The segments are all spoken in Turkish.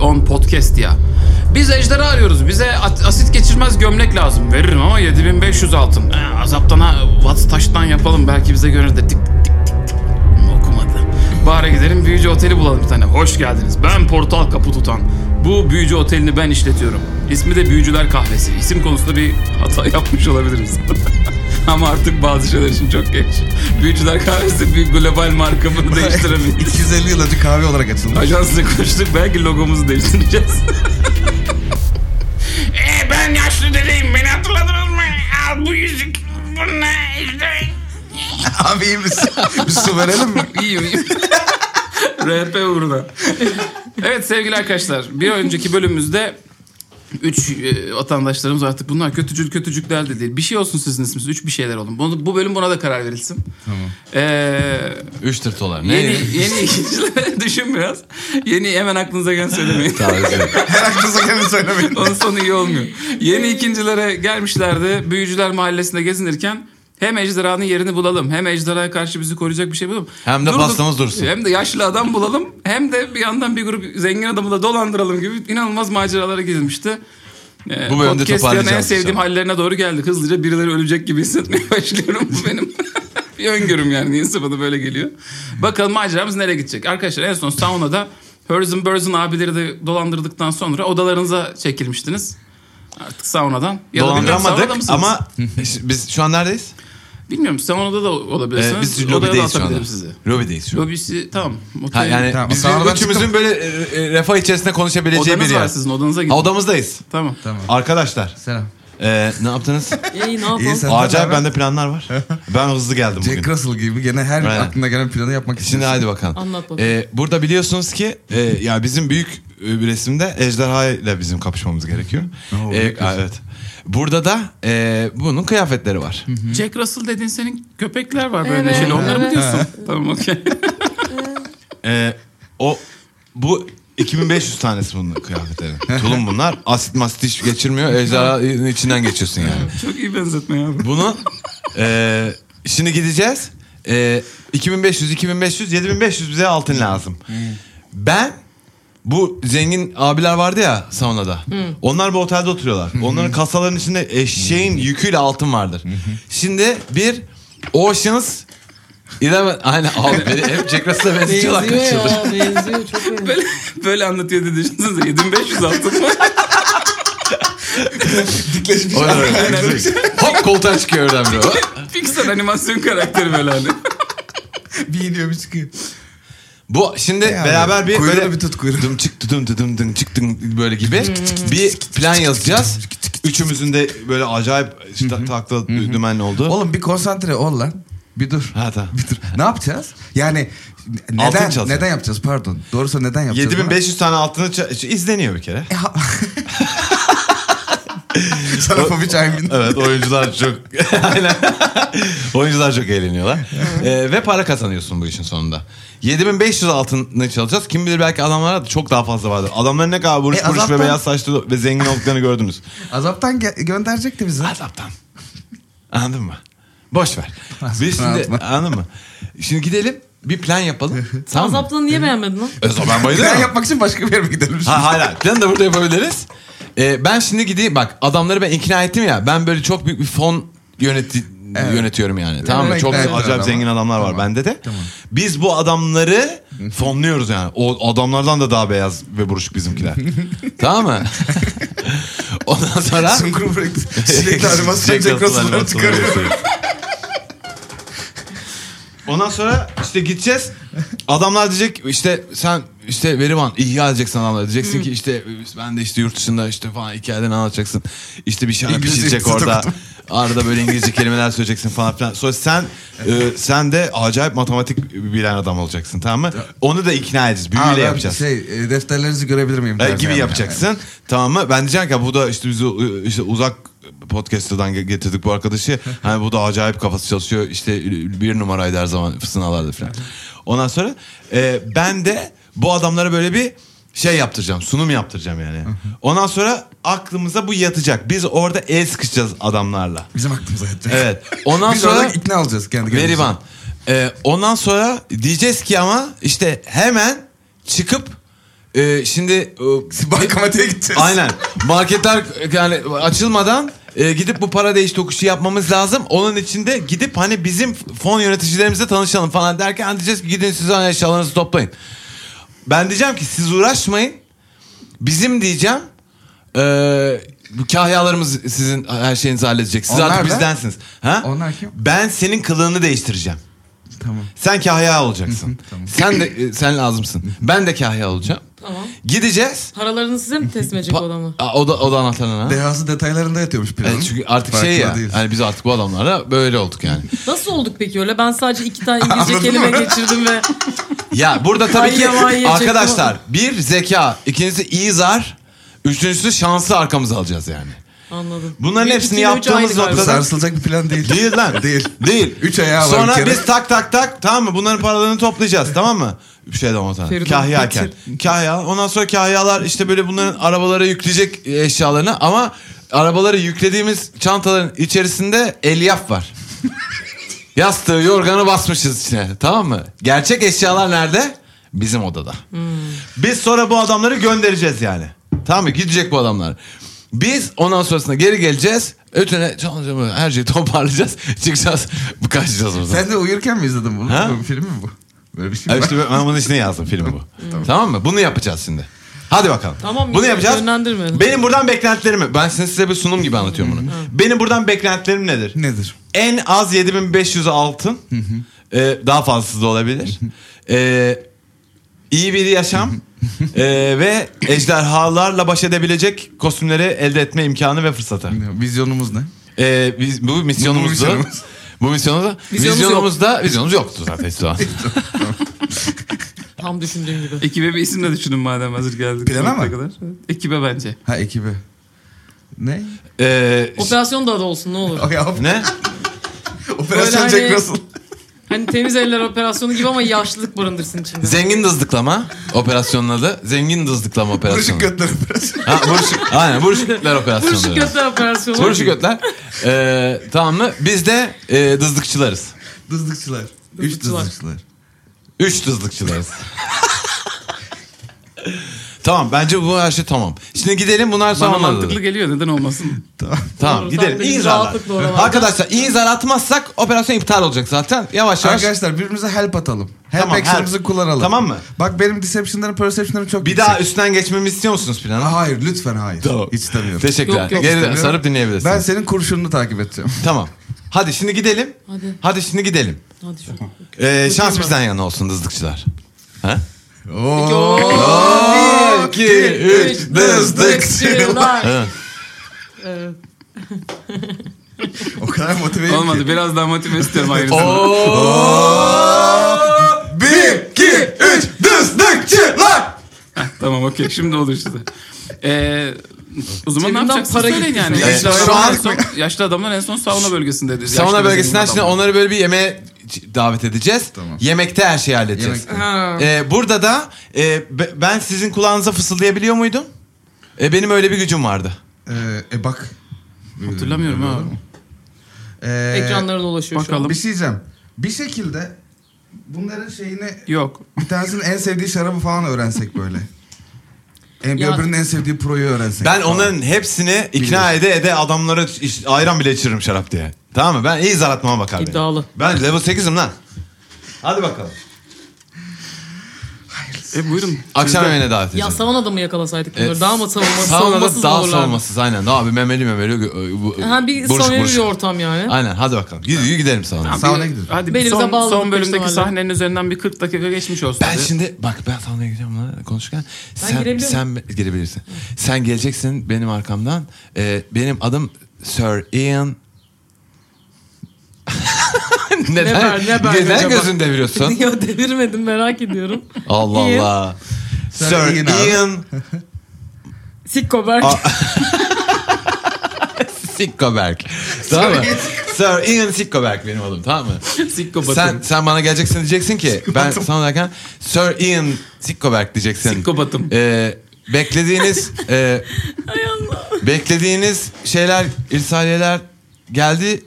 on podcast ya. Biz ejderha arıyoruz. Bize at- asit geçirmez gömlek lazım. Veririm ama 7500 altın. Ha, azaptan ha, vat taştan yapalım. Belki bize görür de tik tik tik tik. Hmm, Okumadı. Bari gidelim büyücü oteli bulalım bir tane. Hoş geldiniz. Ben Portal Kapı Tutan. Bu büyücü otelini ben işletiyorum. İsmi de Büyücüler Kahvesi. İsim konusunda bir hata yapmış olabiliriz. Ama artık bazı şeyler için çok geç. Büyücüler Kahvesi bir global marka bunu değiştiremeyiz. 250 yıl önce kahve olarak açılmış. Ajansla konuştuk belki logomuzu değiştireceğiz. Ee, ben yaşlı dedeyim. Beni hatırladınız mı? Al bu yüzük. Bununla işte Abi iyi misin? Bir su verelim mi? İyiyim iyiyim. RP uğruna. evet sevgili arkadaşlar bir önceki bölümümüzde Üç e, vatandaşlarımız artık bunlar kötücül kötücükler de değil. Bir şey olsun sizin isminiz. Üç bir şeyler olun. Bunu, bu bölüm buna da karar verilsin. Tamam. Üç tırtolar. Ne? yeni yeni ikincileri düşün biraz. Yeni hemen aklınıza gelen söylemeyin. Tarzı. Her aklınıza geleni söylemeyin. Onun sonu iyi olmuyor. Yeni ikincilere gelmişlerdi. Büyücüler mahallesinde gezinirken hem ejderhanın yerini bulalım. Hem ejderhaya karşı bizi koruyacak bir şey bulalım. Hem de pastamız dursun. Hem de yaşlı adam bulalım. Hem de bir yandan bir grup zengin adamı da dolandıralım gibi inanılmaz maceralara girilmişti. Ee, Bu bölümde şey podcast yani en toparlayacağız sevdiğim inşallah. hallerine doğru geldik. Hızlıca birileri ölecek gibi hissetmeye başlıyorum. Bu benim bir öngörüm yani. Niyeyse bana böyle geliyor. Bakalım maceramız nereye gidecek? Arkadaşlar en son saunada Herzen Burzen abileri de dolandırdıktan sonra odalarınıza çekilmiştiniz. Artık saunadan. Ya da bilmiyorum, saunada Dolandıramadık mısınız? ama biz şu an neredeyiz? Bilmiyorum saunada da olabilirsiniz. Ee, biz Odaya da lobideyiz şu anda. atabilirim sizi. Lobideyiz şu an. Lobisi tamam. Ha, yani Tamam, biz sağdan üçümüzün çıktım. böyle e, e, refah içerisinde konuşabileceği Odanız bir var yer. sizin odanıza gidin. Ha, odamızdayız. Tamam. Arkadaşlar Selam. e, ne yaptınız? İyi ne İyi yapalım? sen Acayip bende planlar var. Ben hızlı geldim bugün. Jack Russell gibi gene her Aynen. aklına gelen planı yapmak için. Şimdi hadi bakalım. Anlat bakalım. Ee, burada biliyorsunuz ki e, ya bizim büyük e, bir resimde ejderha ile bizim kapışmamız gerekiyor. Oo, Ee, büyük resim. evet. Burada da e, bunun kıyafetleri var. Jack Russell dediğin senin köpekler var böyle Evet, neşeli. Onları mı evet. diyorsun? tamam okey. Ee, o bu 2500 tanesi bunun kıyafetleri. Tulum bunlar. Asit masit hiç geçirmiyor. Ejderhanın içinden geçiyorsun yani. Çok iyi benzetme ya. Bunu e, şimdi gideceğiz. E, 2500, 2500, 7500 bize altın lazım. Hmm. Ben bu zengin abiler vardı ya saunada. Hmm. Onlar bu otelde oturuyorlar. Onların kasaların içinde Hmm. eşeğin yüküyle altın vardır. Şimdi bir Oceans Eleven... Aynen abi beni hep Jack Russell'a benzetiyorlar Benziyor kaç yıldır. ya benziyor çok benziyor. Böyle, böyle anlatıyor dedi. Düşünsenize 7500 altın var. Dikleşmiş. Oy, oy, oy. Hop koltuğa çıkıyor oradan biri. Pixar animasyon karakteri böyle hani. bir iniyor bir çıkıyor. Bu şimdi Ne abi? beraber bir Kuyruğunu böyle bir tut, kuyruğunu. dım çık dım dım dım çık dım böyle gibi bir plan yazacağız. Üçümüzün de böyle acayip işte takla dümenli oldu. Oğlum bir konsantre ol lan. Bir dur. Ha tamam. Bir dur. Ne yapacağız? Yani Altın neden çalacağız. neden yapacağız pardon. Doğrusu neden yapacağız? 7500 tane altını ça- işte izleniyor bir kere. Sana Fobiç Aymin. Evet oyuncular çok Aynen. oyuncular çok eğleniyorlar. Ee, ve para kazanıyorsun bu işin sonunda. 7500 altını çalacağız. Kim bilir belki adamlara da çok daha fazla vardır. Adamların ne kadar buruş E, buruş ve azaptan- beyaz saçlı ve zengin olduklarını gördünüz. Azaptan ge- gönderecekti bizi. Azaptan. Anladın mı? Boş ver. Biz şimdi Azaptan. anladın mı? Şimdi gidelim bir plan yapalım. tamam mı? Azaptan niye beğenmedin lan? E, zaman bayılırım. Plan yapmak için başka bir yere mi gidelim şimdi? Ha hala. Planı da burada yapabiliriz. Ee, ben şimdi gideyim bak adamları ben ikna ettim ya. Ben böyle çok büyük bir fon yöneti yönetiyorum yani. Tamam mı? Evet, Çok evet, acayip tamam. zengin adamlar var Tamam. bende de. Biz bu adamları fonluyoruz yani. O adamlardan da daha beyaz ve buruşuk bizimkiler. tamam mı? Ondan sonra Sungur bıraktı. Sürekli animasyon Jack Russell'ları çıkarıyor. Ondan sonra işte gideceğiz. Adamlar diyecek işte sen işte Verivan ihya edeceksin adamlar. Diyeceksin ki işte ben de işte yurt dışında işte falan hikayeden anlatacaksın. İşte bir şarkı İngilizce pişirecek tutuk orada. tutuk. Arada böyle İngilizce kelimeler söyleyeceksin falan filan. Sonra sen e, sen de acayip matematik bilen adam olacaksın tamam mı? Onu da ikna edeceğiz. Aa, Büyüyle ben yapacağız. Şey, e, defterlerinizi görebilir miyim? E, tarzı gibi yani. yapacaksın. Tamam mı? Ben diyeceğim ki bu da işte bizi e, işte uzak podcaster'dan ge- getirdik bu arkadaşı. Hani bu da acayip kafası çalışıyor. İşte bir numaraydı her zaman sınalarda falan. Ondan sonra e, ben de bu adamlara böyle bir şey yaptıracağım. Sunum yaptıracağım yani. Ondan sonra aklımıza bu yatacak. Biz orada el sıkışacağız adamlarla. Bizim aklımıza yatacak. Evet. Ondan Biz sonra olarak ikna olacağız kendi kendimize. Verivan. Ee, ondan sonra diyeceğiz ki ama işte hemen çıkıp e, e, şimdi e, Bankamatiğe gideceğiz. Aynen. Marketler yani açılmadan e, gidip bu para değiş tokuşu yapmamız lazım. Onun için de gidip hani bizim fon yöneticilerimize tanışalım falan derken diyeceğiz ki gidin siz hani eşyalarınızı toplayın. Ben diyeceğim ki siz uğraşmayın. Bizim diyeceğim e, bu kahyalarımız sizin her şeyinizi halledecek. Siz Onlar artık ne? bizdensiniz. Ha? Onlar kim? Ben senin kılığını değiştireceğim. Tamam. Sen kahya olacaksın. Sen de e, sen lazımsın. Ben de kahya olacağım. Tamam. Gideceğiz. Paralarını size mi teslim edecek Pa- odamı? Aa, o da o da anahtarına. Dehası detaylarında yatıyormuş planın. Evet, çünkü artık şey Farkında ya. değiliz. Hani biz artık bu adamlarla böyle olduk yani. Nasıl olduk peki öyle? Ben sadece iki tane İngilizce Anladın kelime mı? geçirdim ve ya burada tabii ki Ay, ay, ay, arkadaşlar çektim bir zeka, ikincisi iyi zar, üçüncüsü şansı arkamıza alacağız yani. anladım. Bunların Bir, hepsini iki, üç yaptığımız aynı galiba. noktada- Sarsılacak bir plan değil. Değil lan. Değil. Değil. Üç ayağı var Sonra bir kere. biz tak tak tak tamam mı? Bunların paralarını toplayacağız tamam mı? Bir şey de o zaman. Feridun Kahyayken. Kahya. Ondan sonra kahyalar işte böyle bunların arabalara yükleyecek eşyalarını ama arabalara yüklediğimiz çantaların içerisinde elyaf var. Yastığı, yorganı basmışız içine. Tamam mı? Gerçek eşyalar nerede? Bizim odada. Hmm. Biz sonra bu adamları göndereceğiz yani. Tamam mı? Gidecek bu adamlar. Biz ondan sonrasında geri geleceğiz. Ötüne çalacağımı her şeyi toparlayacağız. Çıkacağız. Bu kaçacağız oradan. Sen de uyurken mi izledin bunu? Ha? Bu Film mi bu? Böyle bir şey Ha var. işte ben bunun içine yazdım film bu. Hmm. tamam. mı? Bunu yapacağız şimdi. Hadi bakalım. Tamam, Bunu yine yapacağız. yönlendirmeyelim. Benim buradan beklentilerimi... Ben size, size bir sunum gibi anlatıyorum bunu. Benim buradan beklentilerim nedir? Nedir? En az 7500 altın. Ee, daha fazlası da olabilir. Ee, iyi bir yaşam. ee, ve ejderhalarla baş edebilecek kostümleri elde etme imkanı ve fırsatı. Vizyonumuz ne? Ee, biz, bu misyonumuzdu. Bu misyonumuz. Bu misyonumuzda Vizyonumuz yok. vizyonumuzda vizyonumuz yoktu zaten şu an. Tam düşündüğüm gibi. Ekibe bir isim de düşünün madem hazır geldik. Plana bu noktaya mı? kadar. Evet, Ekibe bence. Ha ekibi. Ne? Ee, Operasyon da adı olsun ne olur. O ya, ne? Operasyon Böyle Jack hani- Russell. Hani temiz eller operasyonu gibi ama yaşlılık barındırsın içinde. Zengin dızlıklama operasyonun adı. Zengin dızlıklama Buruşuk operasyonu. götler operasyonu. Ha, buruşuk, aynen buruşuk götler operasyonu. Buruşuk götler operasyonu. Buruşuk götler. Ee, tamam mı? Biz de e, dızlıkçılarız. Dızlıkçılar. Üç Dızlıkçılar. dızlıkçılar. Üç dızlıkçılarız. tamam bence bu her şey tamam. Şimdi gidelim bunlar Bana sonra mantıklı geliyor neden olmasın. Tamam. Tamam Doğru, gidelim. tamam, İyi biz zarlar. rahatlıkla oralarda. Arkadaşlar iyi zar atmazsak operasyon iptal olacak zaten. Yavaş yavaş. Arkadaşlar birbirimize help atalım. Help Tamam, action'ımızı help. kullanalım. Tamam mı? Bak benim deception'larım, perception'larım çok Bir yüksek. daha üstten geçmemi istiyor musunuz planı? Hayır lütfen hayır. Tamam. Hiç istemiyorum. Teşekkürler. Yok, yok, Geri İstemiyorum. sarıp dinleyebilirsiniz. Ben senin kurşununu takip edeceğim. Tamam. Hadi şimdi gidelim. Hadi. Hadi şimdi gidelim. Hadi şu. Ee, şans ben. bizden yana olsun dızlıkçılar. Ha? Oo. Bir, iki, üç, Dızlıkçılar. Ha. Evet. O kadar motiveyim Olmadı ki. biraz daha motive istiyorum ayrısını. Bir, iki, üç, dızlıkçılar! Tamam okey şimdi olur işte. Ee, o zaman ne Cebimden yapacağız? para Para Söyleyin gitti. yani. Evet. Yaşlı, Şu adamlar an- en son, yaşlı adamlar en son sauna bölgesinde. dedi. Sauna Yaşlı bölgesinden bizim şimdi adamlar. onları böyle bir yemeğe ç- davet edeceğiz. Tamam. Yemekte her şeyi halledeceğiz. Yemekte. Ha. Ee, burada da e, be- ben sizin kulağınıza fısıldayabiliyor muydum? E, benim öyle bir gücüm vardı. Ee, e bak. Hatırlamıyorum ha. Ee, Ekranlara dolaşıyor şu an. Bakalım. Bir şey diyeceğim. Bir şekilde bunların şeyini Yok. bir tanesinin en sevdiği şarabı falan öğrensek böyle. En, Ya- öbürünün en sevdiği proyu öğrensek. Ben falan. onların hepsini ikna ede ede adamlara iş- ayran bile içiririm şarap diye. Tamam mı? Ben iyi zar atmama bakar benim. İddialı. Ben level 8'im lan. Hadi bakalım. E buyurun. Akşam yemeğine davet edeceğim. Ya saunada mı yakalasaydık bunları? Evet. Daha mı savunmasız, savunmasız Savunmasız E, daha olurlardı? savunmasız aynen. Daha bir memeli memeli. e, bu- Ha, bir buruş samimi buruş. bir ortam yani. Aynen hadi bakalım. Gid, gid- gidelim sauna. Abi, Sauna gidiyoruz. Hadi bir Belimize son, bağladık son bölümdeki muhtemelen. sahnenin üzerinden bir 40 dakika geçmiş olsun. Ben hadi. şimdi bak ben saunaya gideceğim lan konuşurken. Ben sen, girebiliyor sen girebilirsin. Sen geleceksin benim arkamdan. E, benim adım Sir Ian. neden, Neber, Neber neden acaba? gözünü deviriyorsun? ya devirmedim merak ediyorum. Allah İyi. Allah. Sen Sir Ian abi. Ian Sikko Berk. Sikkoberg. tamam mı? Sir Ian Sikkoberg benim adım tamam mı? Sikko Sen, batım. sen bana geleceksin diyeceksin ki ben sana derken Sir Ian Sikkoberg diyeceksin. Sikko batım. Ee, beklediğiniz e, Ay Allah. beklediğiniz şeyler irsaliyeler geldi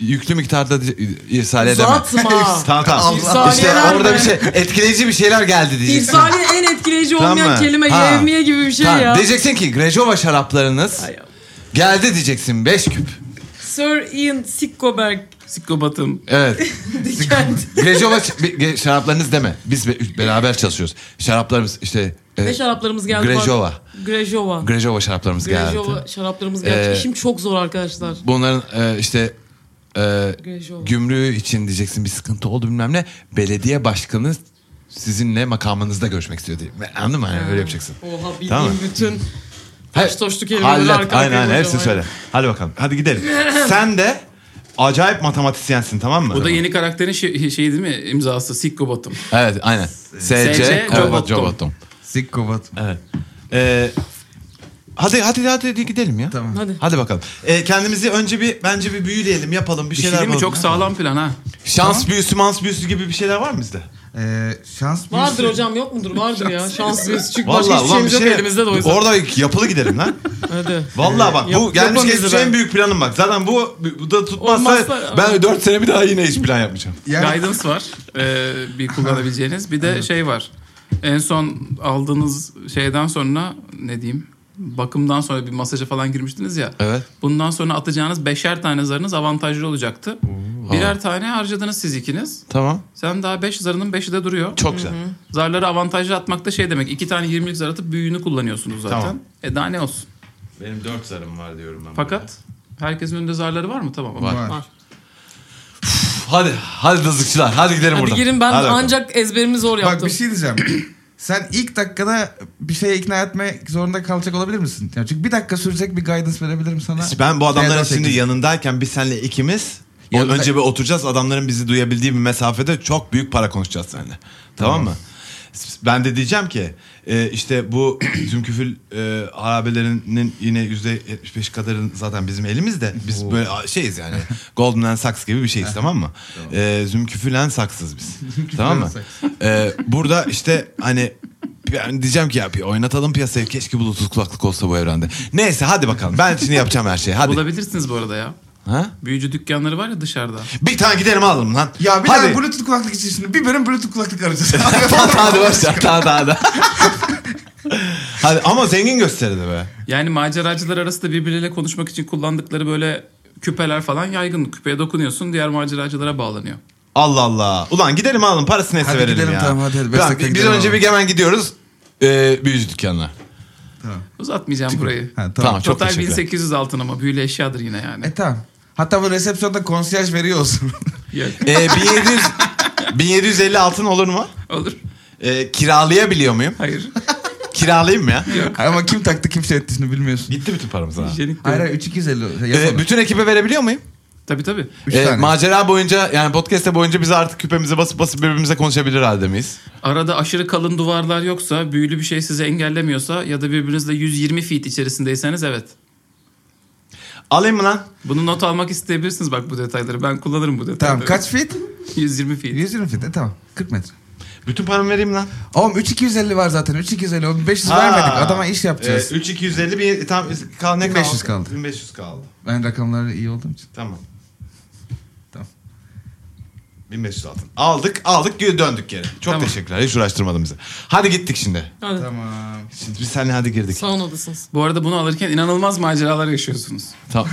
yüklü miktarda di- irsal edemem. Uzatma. Tamam tamam. İrsaliyeler İşte mi? orada bir şey etkileyici bir şeyler geldi diyeceksin. İrsaliye en etkileyici Tamam olmayan mı? kelime Ha. yevmiye gibi bir şey Tamam, ya. Diyeceksin ki Grejova şaraplarınız Ay, ya. geldi diyeceksin 5 küp. Sir Ian Sickoberg Sikobatım. Evet. dikendi. Grejova ş- be- ge- şaraplarınız deme. Biz be- beraber çalışıyoruz. Şaraplarımız işte e, Ne şaraplarımız geldi? Grejova. Grejova. Grejova şaraplarımız Grejova geldi. şaraplarımız geldi. Ee, İşim çok zor arkadaşlar. Bunların e, işte e, Grejova. gümrüğü için diyeceksin bir sıkıntı oldu bilmem ne. Belediye başkanı sizinle makamınızda görüşmek istiyor diye. Anladın mı? Hani öyle yapacaksın. Oha bildiğim Tamam mı? bütün Hayır. taş toşlu kelimeleri Hallet. arka arkaya Aynen aynen koyacağım, hepsini aynen. söyle. Hadi bakalım. Hadi gidelim. Sen de acayip matematisyensin tamam mı? Bu da yeni karakterin şey, şeyi değil mi? İmzası Sikobatım. Evet aynen. SC Jobotom. Jobotom. Sikko batım. Evet. Ee, hadi hadi hadi hadi gidelim ya. Tamam. Hadi. Hadi bakalım. Ee, kendimizi önce bir bence bir büyüleyelim, yapalım bir, Bir şey şeyler. değil mi? yapalım. Çok sağlam plan ha. Şans büyüsü, mans büyüsü gibi bir şeyler var mı bizde? Ee, şans Vardır büyüsü- hocam yok mudur? Vardır ya. Şanslıyız. Çünkü başka Vallahi hiçbir ulan bir şeyimiz şey. yok elimizde de o yüzden. Orada yapılı gidelim lan. Hadi. Vallahi bak bu Yap- gelmiş yapalım geçmiş bizi ben. en büyük planım bak. Zaten bu bu da tutmazsa Olmazsa- ben 4 sene bir daha yine hiç plan yapmayacağım. Yani Guidance var. Ee, bir kullanabileceğiniz. Bir de şey var. En son aldığınız şeyden sonra ne diyeyim? Bakımdan sonra bir masaja falan girmiştiniz ya. Evet. Bundan sonra atacağınız beşer tane zarınız avantajlı olacaktı. Birer tane harcadınız siz ikiniz. Tamam. Sen daha 5 zarının 5'i de duruyor. Çok güzel. Zarları avantajlı atmak da şey demek. 2 tane 20'lik zar atıp büyüğünü kullanıyorsunuz zaten. Tamam. E daha ne olsun. Benim 4 zarım var diyorum ben. Fakat herkesin önünde zarları var mı? Tamam. Var. var. Hadi hadi dızıkçılar hadi gidelim Hadi buradan. girin ben Hadi bakalım. ancak ezberimi zor yaptım. Bak bir şey diyeceğim. Sen ilk dakikada bir şeye ikna etmek zorunda kalacak olabilir misin? Ya çünkü bir dakika sürecek bir guidance verebilirim sana. Ben bu adamların Şeyden şimdi çekin. yanındayken biz seninle ikimiz o- Yanında- önce bir oturacağız. Adamların bizi duyabildiği bir mesafede çok büyük para konuşacağız seninle. Tamam, mı? S- Ben de diyeceğim ki e, işte bu zümküfül e, harabelerinin yine yüzde 75 kadarın zaten bizim elimizde. Biz böyle a- şeyiz yani. Goldman and Sachs gibi bir şeyiz tamam mı? E, zümküfül and Sachs'ız biz. tamam mı? E, burada işte hani yani diyeceğim ki ya bir oynatalım piyasayı. Keşke bluetooth kulaklık olsa bu evrende. Neyse hadi bakalım. Ben şimdi yapacağım her şeyi. Hadi. Bulabilirsiniz bu arada ya. Ha? Büyücü dükkanları var ya dışarıda. Bir tane gidelim alalım lan. Ya bir hadi. tane Bluetooth kulaklık için şimdi bir bölüm Bluetooth kulaklık arayacağız. Tamam, hadi başla. Tamam tamam tamam. hadi ama zengin gösterdi be. Yani maceracılar arasında birbirleriyle konuşmak için kullandıkları böyle küpeler falan yaygın. Küpeye dokunuyorsun diğer maceracılara bağlanıyor. Allah Allah. Ulan gidelim alalım parası neyse Hadi verelim gidelim, ya. tamam, hadi, hadi. Beş Tamam, dakika biz gidelim önce alalım. bir hemen gidiyoruz. Ee, büyücü dükkanına. Uzatmayacağım burayı. ha, Tamam. tamam. çok Total teşekkürler. 1800 altın ama büyülü eşyadır yine yani. E tamam. Hatta bu resepsiyonda konsiyerj veriyor olsun. Yok, Ee, 1700, 1750 altın olur mu? olur. Ee, kiralayabiliyor muyum? Hayır. Kiralayayım mı ya? Ama kim taktı kim şey etti şimdi bilmiyorsun. Gitti bütün paramız ha. Hijyenik Hayır değil. hayır 3250. Ee, Yapalım. bütün ekibe verebiliyor muyum? Tabii tabii. Üç Ee, tane. macera boyunca yani podcast'te boyunca biz artık küpemize basıp basıp birbirimize konuşabilir halde miyiz? Arada aşırı kalın duvarlar yoksa, büyülü bir şey sizi engellemiyorsa ya da birbirinizle 120 feet içerisindeyseniz evet. Alayım mı lan? Bunu not almak isteyebilirsiniz bak bu detayları. Ben kullanırım bu detayları. Tamam kaç fit? 120 feet. 120 fit. E tamam 40 metre. Bütün paramı vereyim lan. Oğlum 3250 var zaten. 3250. Oğlum 500 Ha. vermedik. Adama iş yapacağız. Ee, 3 250 bir tam kal ne 1500 kaldı? kaldı. 1500 kaldı. Ben rakamları iyi olduğum için. Tamam. Tamam. 1500 altın. Aldık, aldık, geri döndük geri. Çok Tamam. teşekkürler. Hiç uğraştırmadın bizi. Hadi gittik şimdi. Hadi. Tamam. Şimdi biz seninle hadi girdik. Saunadasınız. Bu arada bunu alırken inanılmaz maceralar yaşıyorsunuz. Tamam.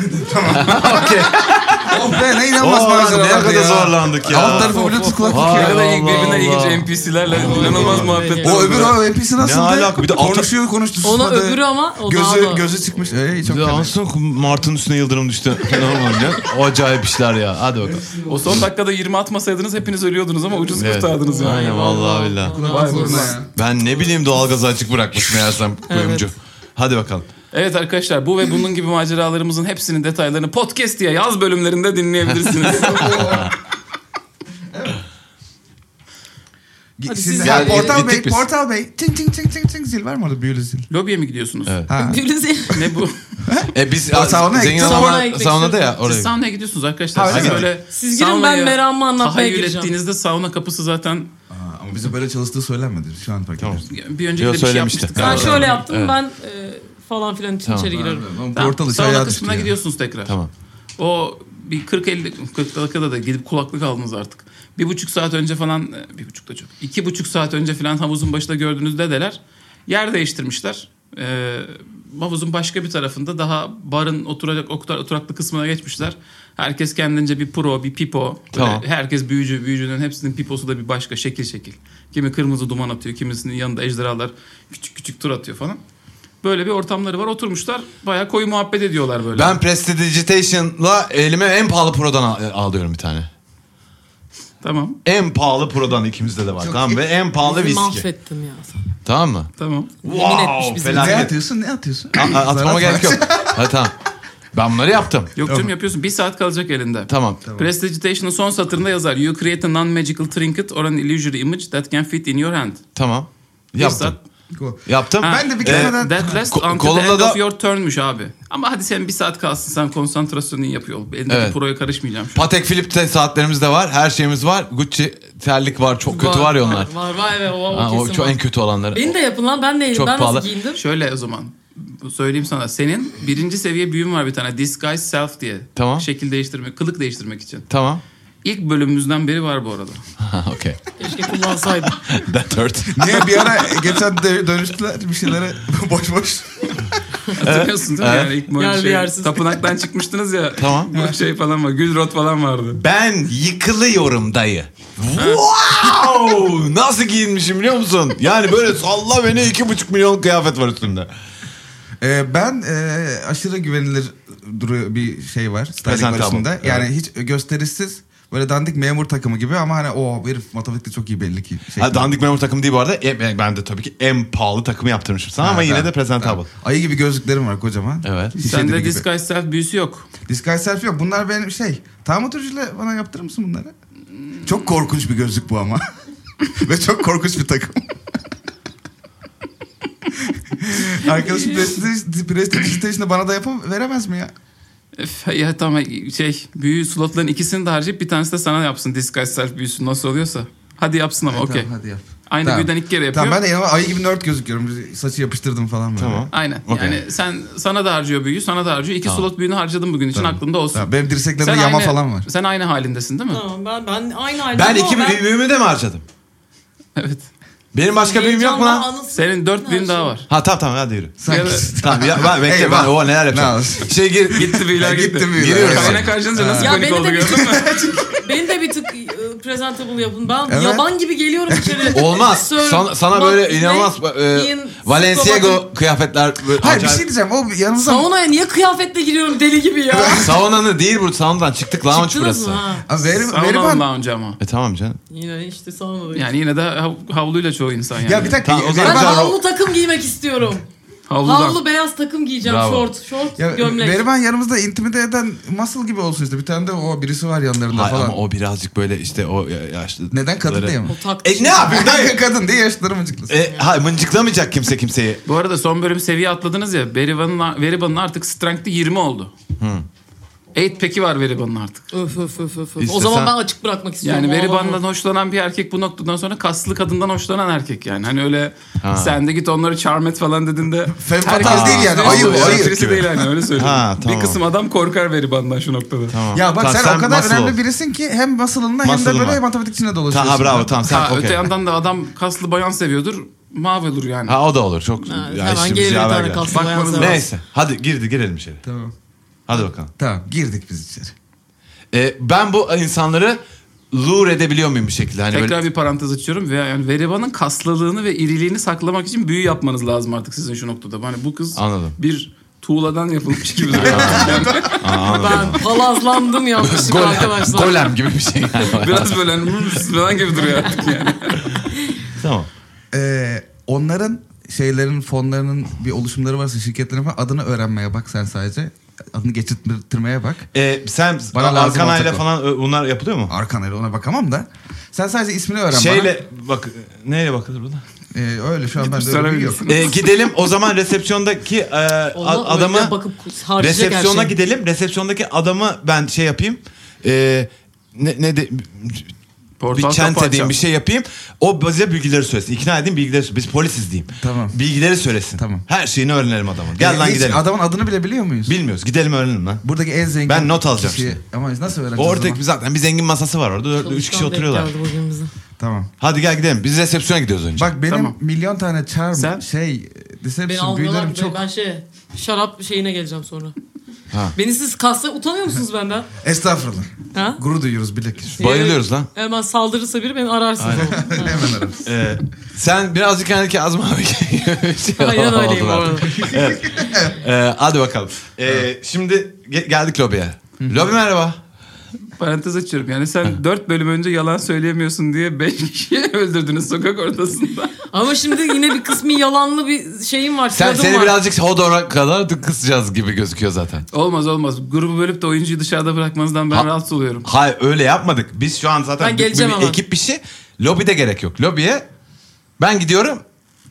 Oh be ne inanılmaz Oo, maceralardı ne ya. kadar zorlandık ya. Alt tarafı Bluetooth kulaklık Vay Ne ya. kadar iyi- Allah birbirinden Allah. ilginç NPC'lerle inanılmaz Allah. muhabbet. O O öbür o NPC nasıldı? alaka? Bir de alt- konuşuyor konuştu Ona susmadı. öbürü ama o daha da. Gözü, gözü çıkmış. Ey, çok fena. Anson Mart'ın üstüne yıldırım düştü. Fena olmadı ya. O acayip işler ya. Hadi bakalım. O son dakikada 20 atmasaydınız hepiniz ölüyordunuz ama ucuz Evet. kurtardınız yani. Aynen vallahi billahi. Vay be. Sorma ya. Ben ne bileyim doğalgazı açık bırakmış meğersem kuyumcu. Hadi bakalım. Evet arkadaşlar bu ve bunun gibi maceralarımızın hepsinin detaylarını podcast diye yaz bölümlerinde dinleyebilirsiniz. Hadi Siz- siz- Ha, Gel- Portal Bey, gittik biz. Portal Bey. Ting ting ting ting ting zil var mı orada büyülü zil? Lobiye mi gidiyorsunuz? Evet. Ha. Biriniz- Ne bu? E biz Ya saunaya zengin gittik. Saunaya adamlar gitmek saunada ya Siz oraya. saunaya gidiyorsunuz arkadaşlar. Ha, öyle Siz mi? böyle Siz girin, ben saunaya meramı anlatmaya tahayyül gireceğim. ettiğinizde sauna kapısı zaten ama bize böyle çalıştığı söylenmedi. Şu an fark ediyorum. bir önceki Yo, de bir şey söylemişti. yapmıştık. Tamam. Ben şöyle yaptım Evet. ben e, falan filan için Tamam. içeri girerim. Tamam. Tamam, Portal işi sauna ayağa kısmına düştü ya. gidiyorsunuz tekrar. Tamam. O bir 40-50 40 dakikada da gidip kulaklık aldınız artık. Bir buçuk saat önce falan e, bir buçuk da çok. İki buçuk saat önce falan havuzun başında gördüğünüz dedeler yer değiştirmişler. Ee, havuzun başka bir tarafında daha barın oturacak otur- oturaklı kısmına geçmişler. Herkes kendince bir pro, bir pipo. Böyle Tamam. Herkes büyücü, büyücünün hepsinin piposu da bir başka şekil şekil. Kimi kırmızı duman atıyor, kimisinin yanında ejderhalar küçük küçük tur atıyor falan. Böyle bir ortamları var. Oturmuşlar bayağı koyu muhabbet ediyorlar böyle. Ben Prestidigitation'la elime en pahalı prodan al- alıyorum bir tane. Tamam, En pahalı prodan ikimizde de var. tamam mı? En pahalı Bizi viski. mahvettin ya sen. Tamam mı? tamam. Yemin etmiş bizi. Ne felaket. atıyorsun ne atıyorsun? A- a- Atmama Zarar gerek var. yok. Ha tamam. Ben bunları yaptım. Yok canım yapıyorsun. Bir saat kalacak elinde. Tamam. Prestidigitation'ın son satırında yazar. You create a non-magical trinket or an illusory image that can fit in your hand. Tamam. Bir Yaptım. saat- Yaptım. Ha, Ee, Ben de bir e, kere daha- That last Ko- until the kolumda end da- of your turn'müş abi. Ama hadi sen bir saat kalsın. Sen konsantrasyonunu yapıyor. ol. Elindeki Evet. proya karışmayacağım şu an. Patek Philippe'te saatlerimiz de var. Her şeyimiz var. Gucci terlik var. Çok kötü var ya onlar. Var var evet o, o Ha, o kesin çok var. en kötü olanları. Benim de yapın lan ben de Çok ben pahalı. nasıl giyindim? Şöyle o zaman. Bu Söyleyeyim sana. Senin birinci seviye büyün var bir tane. Disguise self diye. Tamam. Şekil değiştirmek, kılık değiştirmek için. Tamam. İlk bölümümüzden beri var bu arada. Ha, okay. Keşke kullansaydım. That hurt. Niye bir ara geçen de dönüştüler bir şeylere boş boş. Hatırlıyorsun değil mi? Yani ilk böyle Yer bir şey, yersiz. tapınaktan çıkmıştınız ya. Tamam. Bu şey falan var. Gülrot falan vardı. Ben yıkılıyorum dayı. Wow! Nasıl giyinmişim biliyor musun? Yani böyle salla beni iki buçuk milyon kıyafet var üstümde. Ee, ben e, aşırı güvenilir duru bir şey var. Sterling Present barışında. tablo. Yani hiç gösterişsiz böyle dandik memur takımı gibi ama hani o bu herif matematikte çok iyi belli ki. Şey Ha, dandik memur takımı değil bu arada. E, ben de tabii ki en pahalı takımı yaptırmışım sana Ha, ama yine tamam, de presentable. tamam. Ayı gibi gözlüklerim var kocaman. Evet. Şişe Sende dili gibi. disguise self büyüsü yok. Disguise selfie yok. Bunlar benim şey. Tahammütücüyle bana yaptırır mısın bunları? Çok korkunç bir gözlük bu ama. Ve çok korkunç bir takım. Arkadaşım PlayStation'da bana da yapam veremez mi ya? Öf, ya tamam şey büyü slotların ikisini de harcayıp bir tanesi de sana yapsın disguise self büyüsü nasıl oluyorsa. Hadi yapsın ama okey. Tamam, hadi yap. Aynı Tamam. büyüden iki kere yapıyor. Tamam ben de yanıma ayı gibi nerd gözüküyorum. Saçı yapıştırdım falan böyle. Tamam. Aynen. Okey. Yani sen sana da harcıyor büyüyü, sana da harcıyor. İki slot büyüğünü harcadım bugün için aklında olsun. Tamam, benim dirseklerimde Sen yama aynı, falan var. Sen aynı halindesin değil mi? tamam ben, ben aynı halde Ben ama iki ben- büyüğümü de mi harcadım? Evet. Benim başka büyüğüm yok mu Heyecanla lan? anasını- Senin dört şey büyün daha var. Ha tamam tamam hadi yürü. Ya da- Tamam ya, ben, bekle ben Eyvah. o neler yapacağım. Ne Şey gir. Gitti büyüler gitti. Gitti büyüler. Giriyoruz. Evet. Kaynak harcayınca nasıl Ya panik beni de oldu bir- gördün mü? Beni de bir tık e, presentable yapın. Ben Evet. yaban gibi geliyorum içeri. Olmaz. Sir, Sana, sana not böyle Nate, inanılmaz e, Ian, Valenciago Scott'ın- kıyafetler. böyle Hayır bir acayip- şey diyeceğim. O yanınıza... Saunaya niye kıyafetle giriyorum deli gibi ya? Saunanı değil bu saunadan çıktık lounge Çıktınız burası. mı ha? Aa, Veri, Saunan Veriban- lounge ama. E tamam canım. Yine işte saunadayız. Yani yine de hav- havluyla çoğu insan yani. Ya bir dakika. Tamam, o zaman- ben Veriban- Güzel, havlu takım giymek istiyorum. Havludan. Havlu beyaz takım giyeceğim. Bravo. Şort, şort, Ya gömlek. Berivan yanımızda intimide eden muscle gibi olsun işte. Bir tane de o birisi var yanlarında Hayır, falan. ama o birazcık böyle işte o ya- yaşlı. Neden kadın Böyle- değil mi? O tak- E ne yapayım dayı? kadın diye yaşları mıcıklasın. E, ha, mıncıklamayacak kimse kimseyi. Bu arada son bölüm seviye atladınız ya. Veriban'ın Veriban'ın artık strength'i 20 oldu. Hmm. Hı. 8 pack'i var Veriban'ın artık. Öf öf öf öf. öf. İşte o zaman sen- ben açık bırakmak istiyorum. Yani O Veriban'dan alamam. hoşlanan bir erkek bu noktadan sonra kaslı kadından hoşlanan erkek yani. Hani öyle sen de git onları charm et falan dediğinde Femme fatale değil yani, Herkes- ayıp, Herkes- ayıp. Birisi değil yani öyle söyleyeyim. Ha, tamam. Bir kısım adam korkar Veriban'dan şu noktada. Tamam. Ya bak Tamam, sen, o kadar muscle önemli ol. birisin ki hem muscle'ınla hem de Muscle'ın böyle var. matematik içine dolaşıyorsun. Ta, ha bravo tamam sen Ha, okey. öte yandan da adam kaslı bayan seviyordur. Mavi olur yani. Ha o da olur çok. Ha, ya, hemen işimiz gelir bir yaver tane ya. kalsın. Bakmanız ayağınıza. lazım. Neyse hadi girdi girelim içeri. Tamam. Hadi bakalım. Tamam girdik biz içeri. E, ben bu insanları lure edebiliyor muyum bir şekilde? Hani Tekrar böyle, bir parantez açıyorum ve yani Veriban'ın kaslılığını ve iriliğini saklamak için büyü yapmanız lazım artık sizin şu noktada. Hani bu kız Anladım. bir tuğladan yapılmış gibi duruyor. Yani Ben palazlandım yanlışlıkla golem, arkadaşlar. golem gibi bir şey yani. biraz böyle hani "Hırs" falan gibi duruyor artık yani. tamam. Ee, onların şeylerin fonlarının bir oluşumları varsa şirketlerin falan adını öğrenmeye bak sen sadece. Adını geçirtmeye bak. E, sen Bana lazım Arkana ile olacak o. falan ö, bunlar yapılıyor mu? Arkan öyle ona bakamam da. Sen sadece ismini öğren Şeyle bak neyle bakılır buna? bana. Ee, öyle şu an bende öyle bir bilgi yok. Söylemeyebilirsin. E, gidelim o zaman resepsiyondaki e, a- Ona öyle adamı bakıp harcayacak her resepsiyona şeyi. şey gidelim. Resepsiyondaki adamı ben şey yapayım. E, ne, ne de Portal bir çente kapağı diyeyim çal. bir şey yapayım. O bize bilgileri söylesin. İkna edeyim bilgileri söylesin. Biz polisiz diyeyim. Tamam. Bilgileri söylesin. Tamam. Her şeyini öğrenelim adamın. Gel lan Ee, Hiç gidelim. Adamın adını bile biliyor muyuz? Bilmiyoruz. Gidelim öğrenelim lan. Buradaki en zengin Ben not alacağım kişi- şimdi. Ama biz nasıl öğreneceğiz? o Orada zaman? zaten bir zengin masası var orada. Dört- Üç kişi Çalışkan denk oturuyorlar. geldi bugün bize. Tamam. Hadi gel gidelim. Biz resepsiyona gidiyoruz önce. Bak benim Tamam. milyon tane charm Sen? şey Beni deception almıyorlar büyülerim ki. çok. Ben şey şarap şeyine geleceğim sonra. Ha. Beni siz kasta utanıyor musunuz benden? Estağfurullah. Ha? Gurur duyuyoruz bilakis. e, Bayılıyoruz lan. Hemen saldırırsa biri beni ararsınız. oğlum. Hemen ararız. e, Ee, sen birazcık yani Kazım abi. Aynen öyleyim bu arada. Ee, hadi bakalım. Ee, Şimdi ge- geldik lobiye. Lobi merhaba. Parantez açıyorum. Yani sen 4 bölüm önce yalan söyleyemiyorsun diye 5 kişiyi öldürdünüz sokak ortasında. Ama şimdi yine bir kısmi yalanlı bir şeyim var. Sen tiradım seni var. birazcık Hodor'a kadar da kısacağız gibi gözüküyor zaten. Olmaz olmaz. Grubu bölüp de oyuncuyu dışarıda bırakmanızdan ben Ha- rahatsız oluyorum. Hayır öyle yapmadık. Biz şu an zaten Ben geleceğim bir, bir ama. ekip bir şey. Lobide gerek yok. Lobiye ben gidiyorum.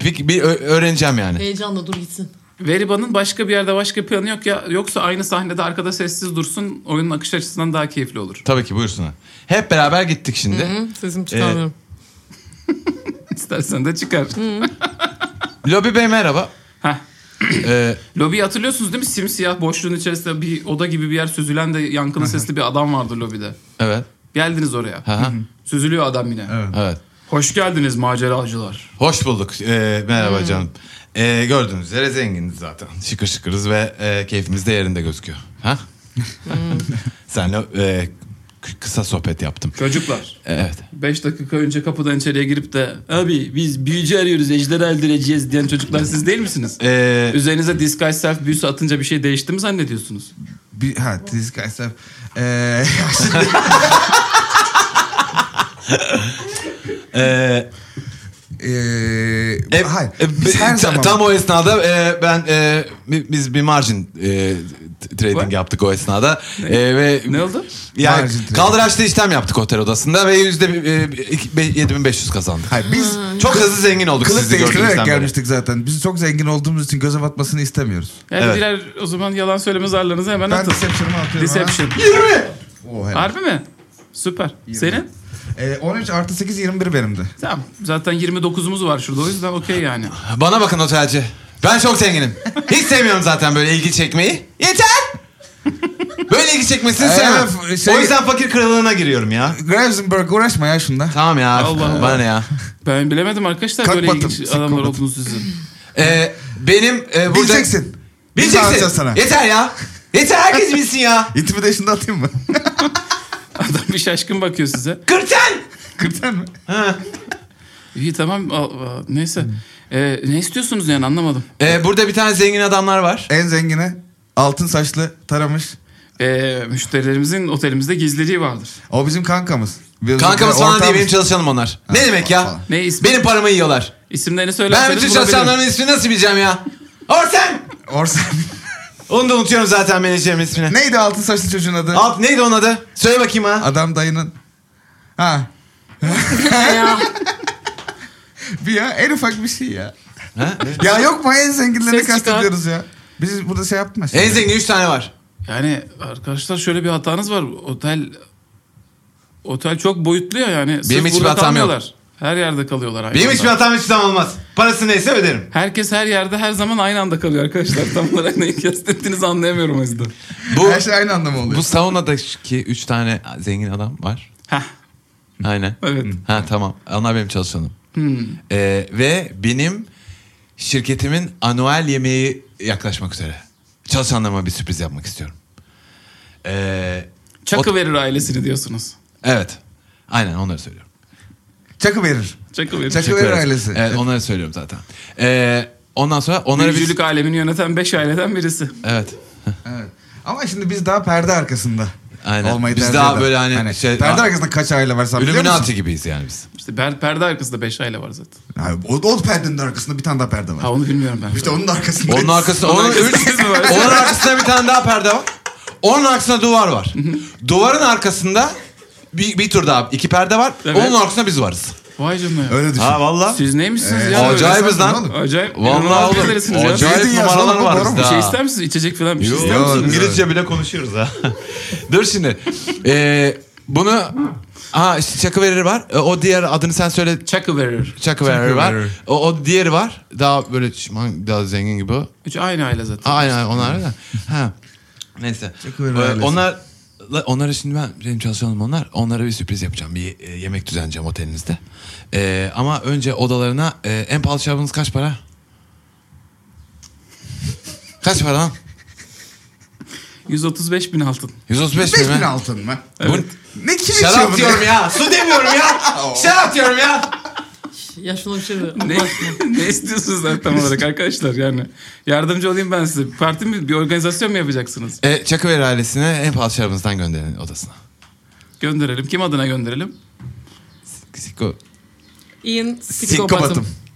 Bir, bir ö- öğreneceğim yani. Heyecanla dur gitsin. Veriban'ın başka bir yerde başka planı yok ya yoksa aynı sahnede arkada sessiz dursun oyunun akış açısından daha keyifli olur. Tabii ki buyursunlar. Hep beraber gittik şimdi. Hı, Ee, sesimi çıkarmıyorum. İstersen de çıkar. Lobi Bey merhaba. Heh. Ee, Lobiyi hatırlıyorsunuz değil mi? Simsiyah boşluğun içerisinde bir oda gibi bir yer süzülen de yankılı sesli bir adam vardı lobide. evet. Geldiniz oraya. Hı hı. Süzülüyor adam yine. Evet. Evet. Hoş geldiniz maceracılar. Hoş bulduk. Ee, merhaba canım. Ee, gördüğünüz üzere zenginiz zaten. Şıkır şıkırız ve e, keyfimiz de yerinde gözüküyor. Ha? Senle e, k- kısa sohbet yaptım. E, Çocuklar. Evet. 5 dakika önce kapıdan içeriye girip de abi biz büyücü arıyoruz ejderha öldüreceğiz diyen çocuklar siz değil misiniz? Ee, Üzerinize disguise self büyüsü atınca bir şey değişti mi zannediyorsunuz? Bir, ha disguise self. Ee, e, ee, e, hayır. e, Biz b- her ta- zaman. Tam o esnada e, ben e, bi- biz bir margin e, t- trading What? yaptık o esnada. E, ve Ne oldu? Yani Margin trading. kaldıraçlı işlem yaptık otel odasında ve yüzde e, iki- be- 7500 kazandık. Hayır biz Çok hızlı zengin olduk kılık sizi gördüğümüzden değiştirerek beri. gelmiştik zaten. Biz çok zengin olduğumuz için göze batmasını istemiyoruz. Yani Evet. birer o zaman yalan söyleme zarlarınızı hemen Ben atın. deception'ımı atıyorum. Deception. Ha. Oo, helal. Harbi mi? Süper. Senin? Ee, 13 artı 8 21 benimdi. Tamam. Zaten 29'umuz var şurada o yüzden okey yani. Bana bakın otelci. Ben çok zenginim. Hiç sevmiyorum zaten böyle ilgi çekmeyi. Yeter! Böyle ilgi çekmesini Ee, sevmem. f- şey- O yüzden fakir kralına giriyorum ya. Gravenberg uğraşma ya şunda. Tamam ya. Allah Allah. Bana ne ya. Ben bilemedim arkadaşlar Kalk böyle batın, ilginç sık adamlar batın. olduğunuz sizin. Ee, benim e, burada... Bileceksin. Biz de Bileceksin. anlatacağız sana. Yeter ya. Yeter herkes bilsin ya. Intimidation'da atayım mı? Adam bir şaşkın bakıyor size. Kırten! Kırtan mı? İyi tamam al- al- neyse. Hmm. Ee, ne istiyorsunuz yani anlamadım. Ee, burada bir tane zengin adamlar var. En zengini altın saçlı taramış. Ee, müşterilerimizin otelimizde gizliliği vardır. O bizim kankamız. Biz Kankamız falan diye ortağımız. benim çalışanım onlar. Ne demek ya? falan. Ne ismi? Benim paramı yiyorlar. İsimlerini Ben söylerseniz bütün bulabilirim. çalışanların ismini nasıl bileceğim ya? Orsen! Orsan. Onu da unutuyorum zaten menajerimin ismini. Neydi altın saçlı çocuğun adı? Alt neydi onun adı? Söyle bakayım ha. Adam dayının. Ha. Ya, Bir ya en ufak bir şey ya. Ha? Ya yok mu en zenginleri Ses çıkar. kastediyoruz ya. Biz burada şey yapmaz. En zengin 3 tane var. Yani arkadaşlar şöyle bir hatanız var. Otel otel çok boyutlu ya yani. Sırf hiçbir burada hatam yok. kalmıyorlar. Her yerde kalıyorlar aynı Benim anda. hiçbir hatam hiçbir zaman olmaz. Parası neyse öderim. Herkes her yerde her zaman aynı anda kalıyor arkadaşlar. Tam olarak neyi kastettiğinizi anlayamıyorum o yüzden. Bu, Her şey aynı anlamı oluyor. bu saunadaki 3 tane zengin adam var. Heh, Aynen. evet. Ha tamam. Onlar benim çalışanım. Ee, ve benim şirketimin anuel yemeği yaklaşmak üzere. Çalışanlarıma bir sürpriz yapmak istiyorum. Ee, Çakı verir ailesini diyorsunuz. evet. Aynen onları söylüyorum. Çakı verir. Çakı verir. Çakı verir ailesi. Evet onları söylüyorum zaten. Ee, ondan sonra onlara bir... Büyücülük alemini yöneten 5 aileden birisi. Evet. Evet. Ama şimdi biz daha perde arkasında Aynen. olmayı Biz tercih daha eder. böyle hani şey- perde Aa. arkasında kaç aile var sen biliyor musun? Illuminati gibiyiz yani biz. İşte ben perde arkasında 5 aile var zaten. Abi, o, o perdenin arkasında bir tane daha perde var. Ha onu bilmiyorum ben. İşte onun arkasında. Onun arkasında, Onun onun, arkasında üç- siz mi var? onun arkasında bir tane daha perde var. Onun arkasında duvar var. Duvarın arkasında bir, bir tur daha iki perde var. Evet. Onun arkasında biz varız. Vay canına. Öyle düşün. valla. Siz neymişsiniz Ee, ya? böyle? Acayip Acayip'iz lan. Acayip. Vallahi İnanılmaz oğlum. birilerisiniz ya. Acayip Yedin ya, numaralar sana var bu bizde. Bir ha. şey ister misiniz? İçecek falan bir şey ister Yok. misiniz? İngilizce bile konuşuyoruz ha. Dur şimdi. Ee, bunu Ha işte Chuckberry var. E, o diğer adını sen söyle. Çakı verir. Chuckberry var. Chuckberry. O, o diğeri var. Daha böyle şişman, daha zengin gibi. o. Üç aynı aile zaten. Ha, aynen aynen, onlar da. Ha. Neyse. Chuckberry Ee, ailesi. onlar onlara şimdi ben benim çalışanım onlar. Onlara bir sürpriz yapacağım. Bir e, yemek düzenleyeceğim otelinizde. E, ama önce odalarına e, en pahalı şarabınız kaç para? Kaç para lan? 135 bin altın. 135 bin 5000 mi? altın mı? Bu, Ne kim içiyor şarap bunu? diyorum ya. Su demiyorum ya. şarap diyorum ya. Ya şuna bir şey de. Ne, ne istiyorsunuz lan tam olarak arkadaşlar yani? Yardımcı olayım ben size. Bir Parti mi, bir organizasyon mu yapacaksınız? E, Çakıveri ailesine en pahalı şarabınızdan gönderin odasına. Gönderelim. Kim adına gönderelim? Siko, Ian psikopatım.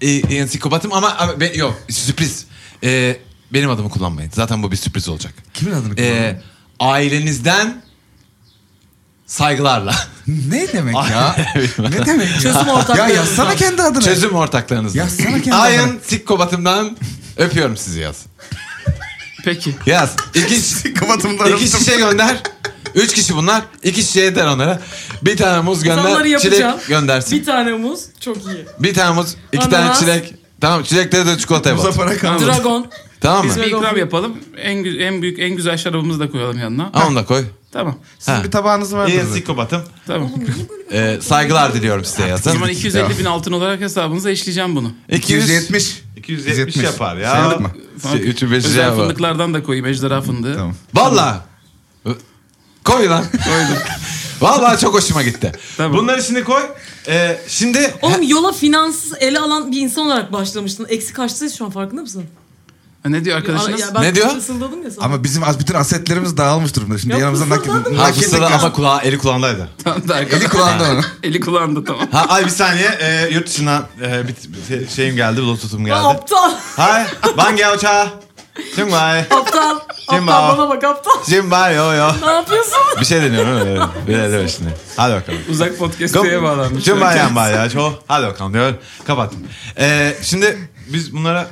psikopatım. E, yani psikopatım ama, ama ben, yok sürpriz. E, benim adımı kullanmayın. Zaten bu bir sürpriz olacak. Kimin adını kullanıyor? E, ailenizden saygılarla. Ne demek ya? ne demek ya? Çözüm ortakları. Ya yazsana kendi adını. Çözüm ortaklarınızdan. Yazsana kendi Ayın adını. psikobatımdan öpüyorum sizi yaz. Peki. Yaz. İlginç. Kapatımda İki şişe şey gönder. Üç kişi bunlar. İki şişe yeter onlara. Bir tane muz Onları gönder. yapacağım. Çilek göndersin. Bir tane muz çok iyi. Bir tane muz, iki tane Ananas. çilek. Tamam çileklere de çikolata Muza yapalım. para kalmadı. Dragon. Tamam mı? Biz bir Dragon ikram Fruit. yapalım. En, gü- en büyük, en güzel şarabımızı da koyalım yanına. Ha onu da koy. Tamam. Ha. Sizin bir tabağınız vardır. zaten. psikobatım. Tamam. Ee, saygılar diliyorum size O yazın. zaman 250 bin altın olarak hesabınıza işleyeceğim bunu. 270. 270 yapar ya. Saydık mı? Tamam. Şey, üçü beşi Özel şey var. fındıklardan da koyayım. Ejderha fındığı. Tamam. Valla. Koy lan. Valla çok hoşuma gitti. Tamam. Bunları şimdi koy. Ee, şimdi Oğlum yola finanssız ele alan bir insan olarak başlamıştın. Eksi kaçtayız şu an farkında mısın? Ha, Ne diyor arkadaşınız? Ya ben Ne diyor? Fısıldadım ya sana. Ama bizim az bütün asetlerimiz dağılmış durumda. Şimdi Ya yanımıza nakit. fısıldadın ha, Nakit fısıldadı ama ama kulağı, eli kulağındaydı. Tamam da arkadaş- eli kulağında onun. Eli kulağında tamam. Ha, ay bir saniye ee, yurt dışından ee, bir, bir şeyim geldi, bluetooth'um Ya geldi. aptal. Hay, ban gao cha. Çin bay. Aptal. aptal Cimba. bana bak aptal. Çin bay yo yo. Ne yapıyorsun? Bir şey deniyorum öyle. öyle. Bir de- de şimdi. Hadi bakalım. Uzak podcast'e bağlanmış. Tüm bayan bayağı çok. Hadi bakalım diyor. Kapattım. Ee, şimdi biz bunlara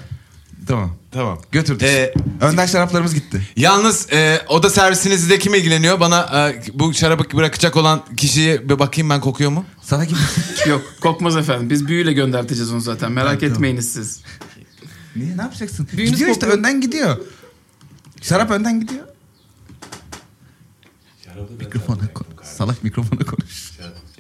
Tamam. tamam. Götürdük. Ee, Önden şaraplarımız gitti. Yalnız e, oda servisinizde kim ilgileniyor? Bana e, bu şarabı bırakacak olan kişiye bir bakayım ben kokuyor mu? Sana kim? Yok kokmaz efendim. Biz büyüyle gönderteceğiz onu zaten. Merak etmeyiniz siz. Niye ne yapacaksın? Düğünüz gidiyor işte kopuyor. önden gidiyor. Şarap önden gidiyor. Mikrofona konuş. Salak mikrofona konuş.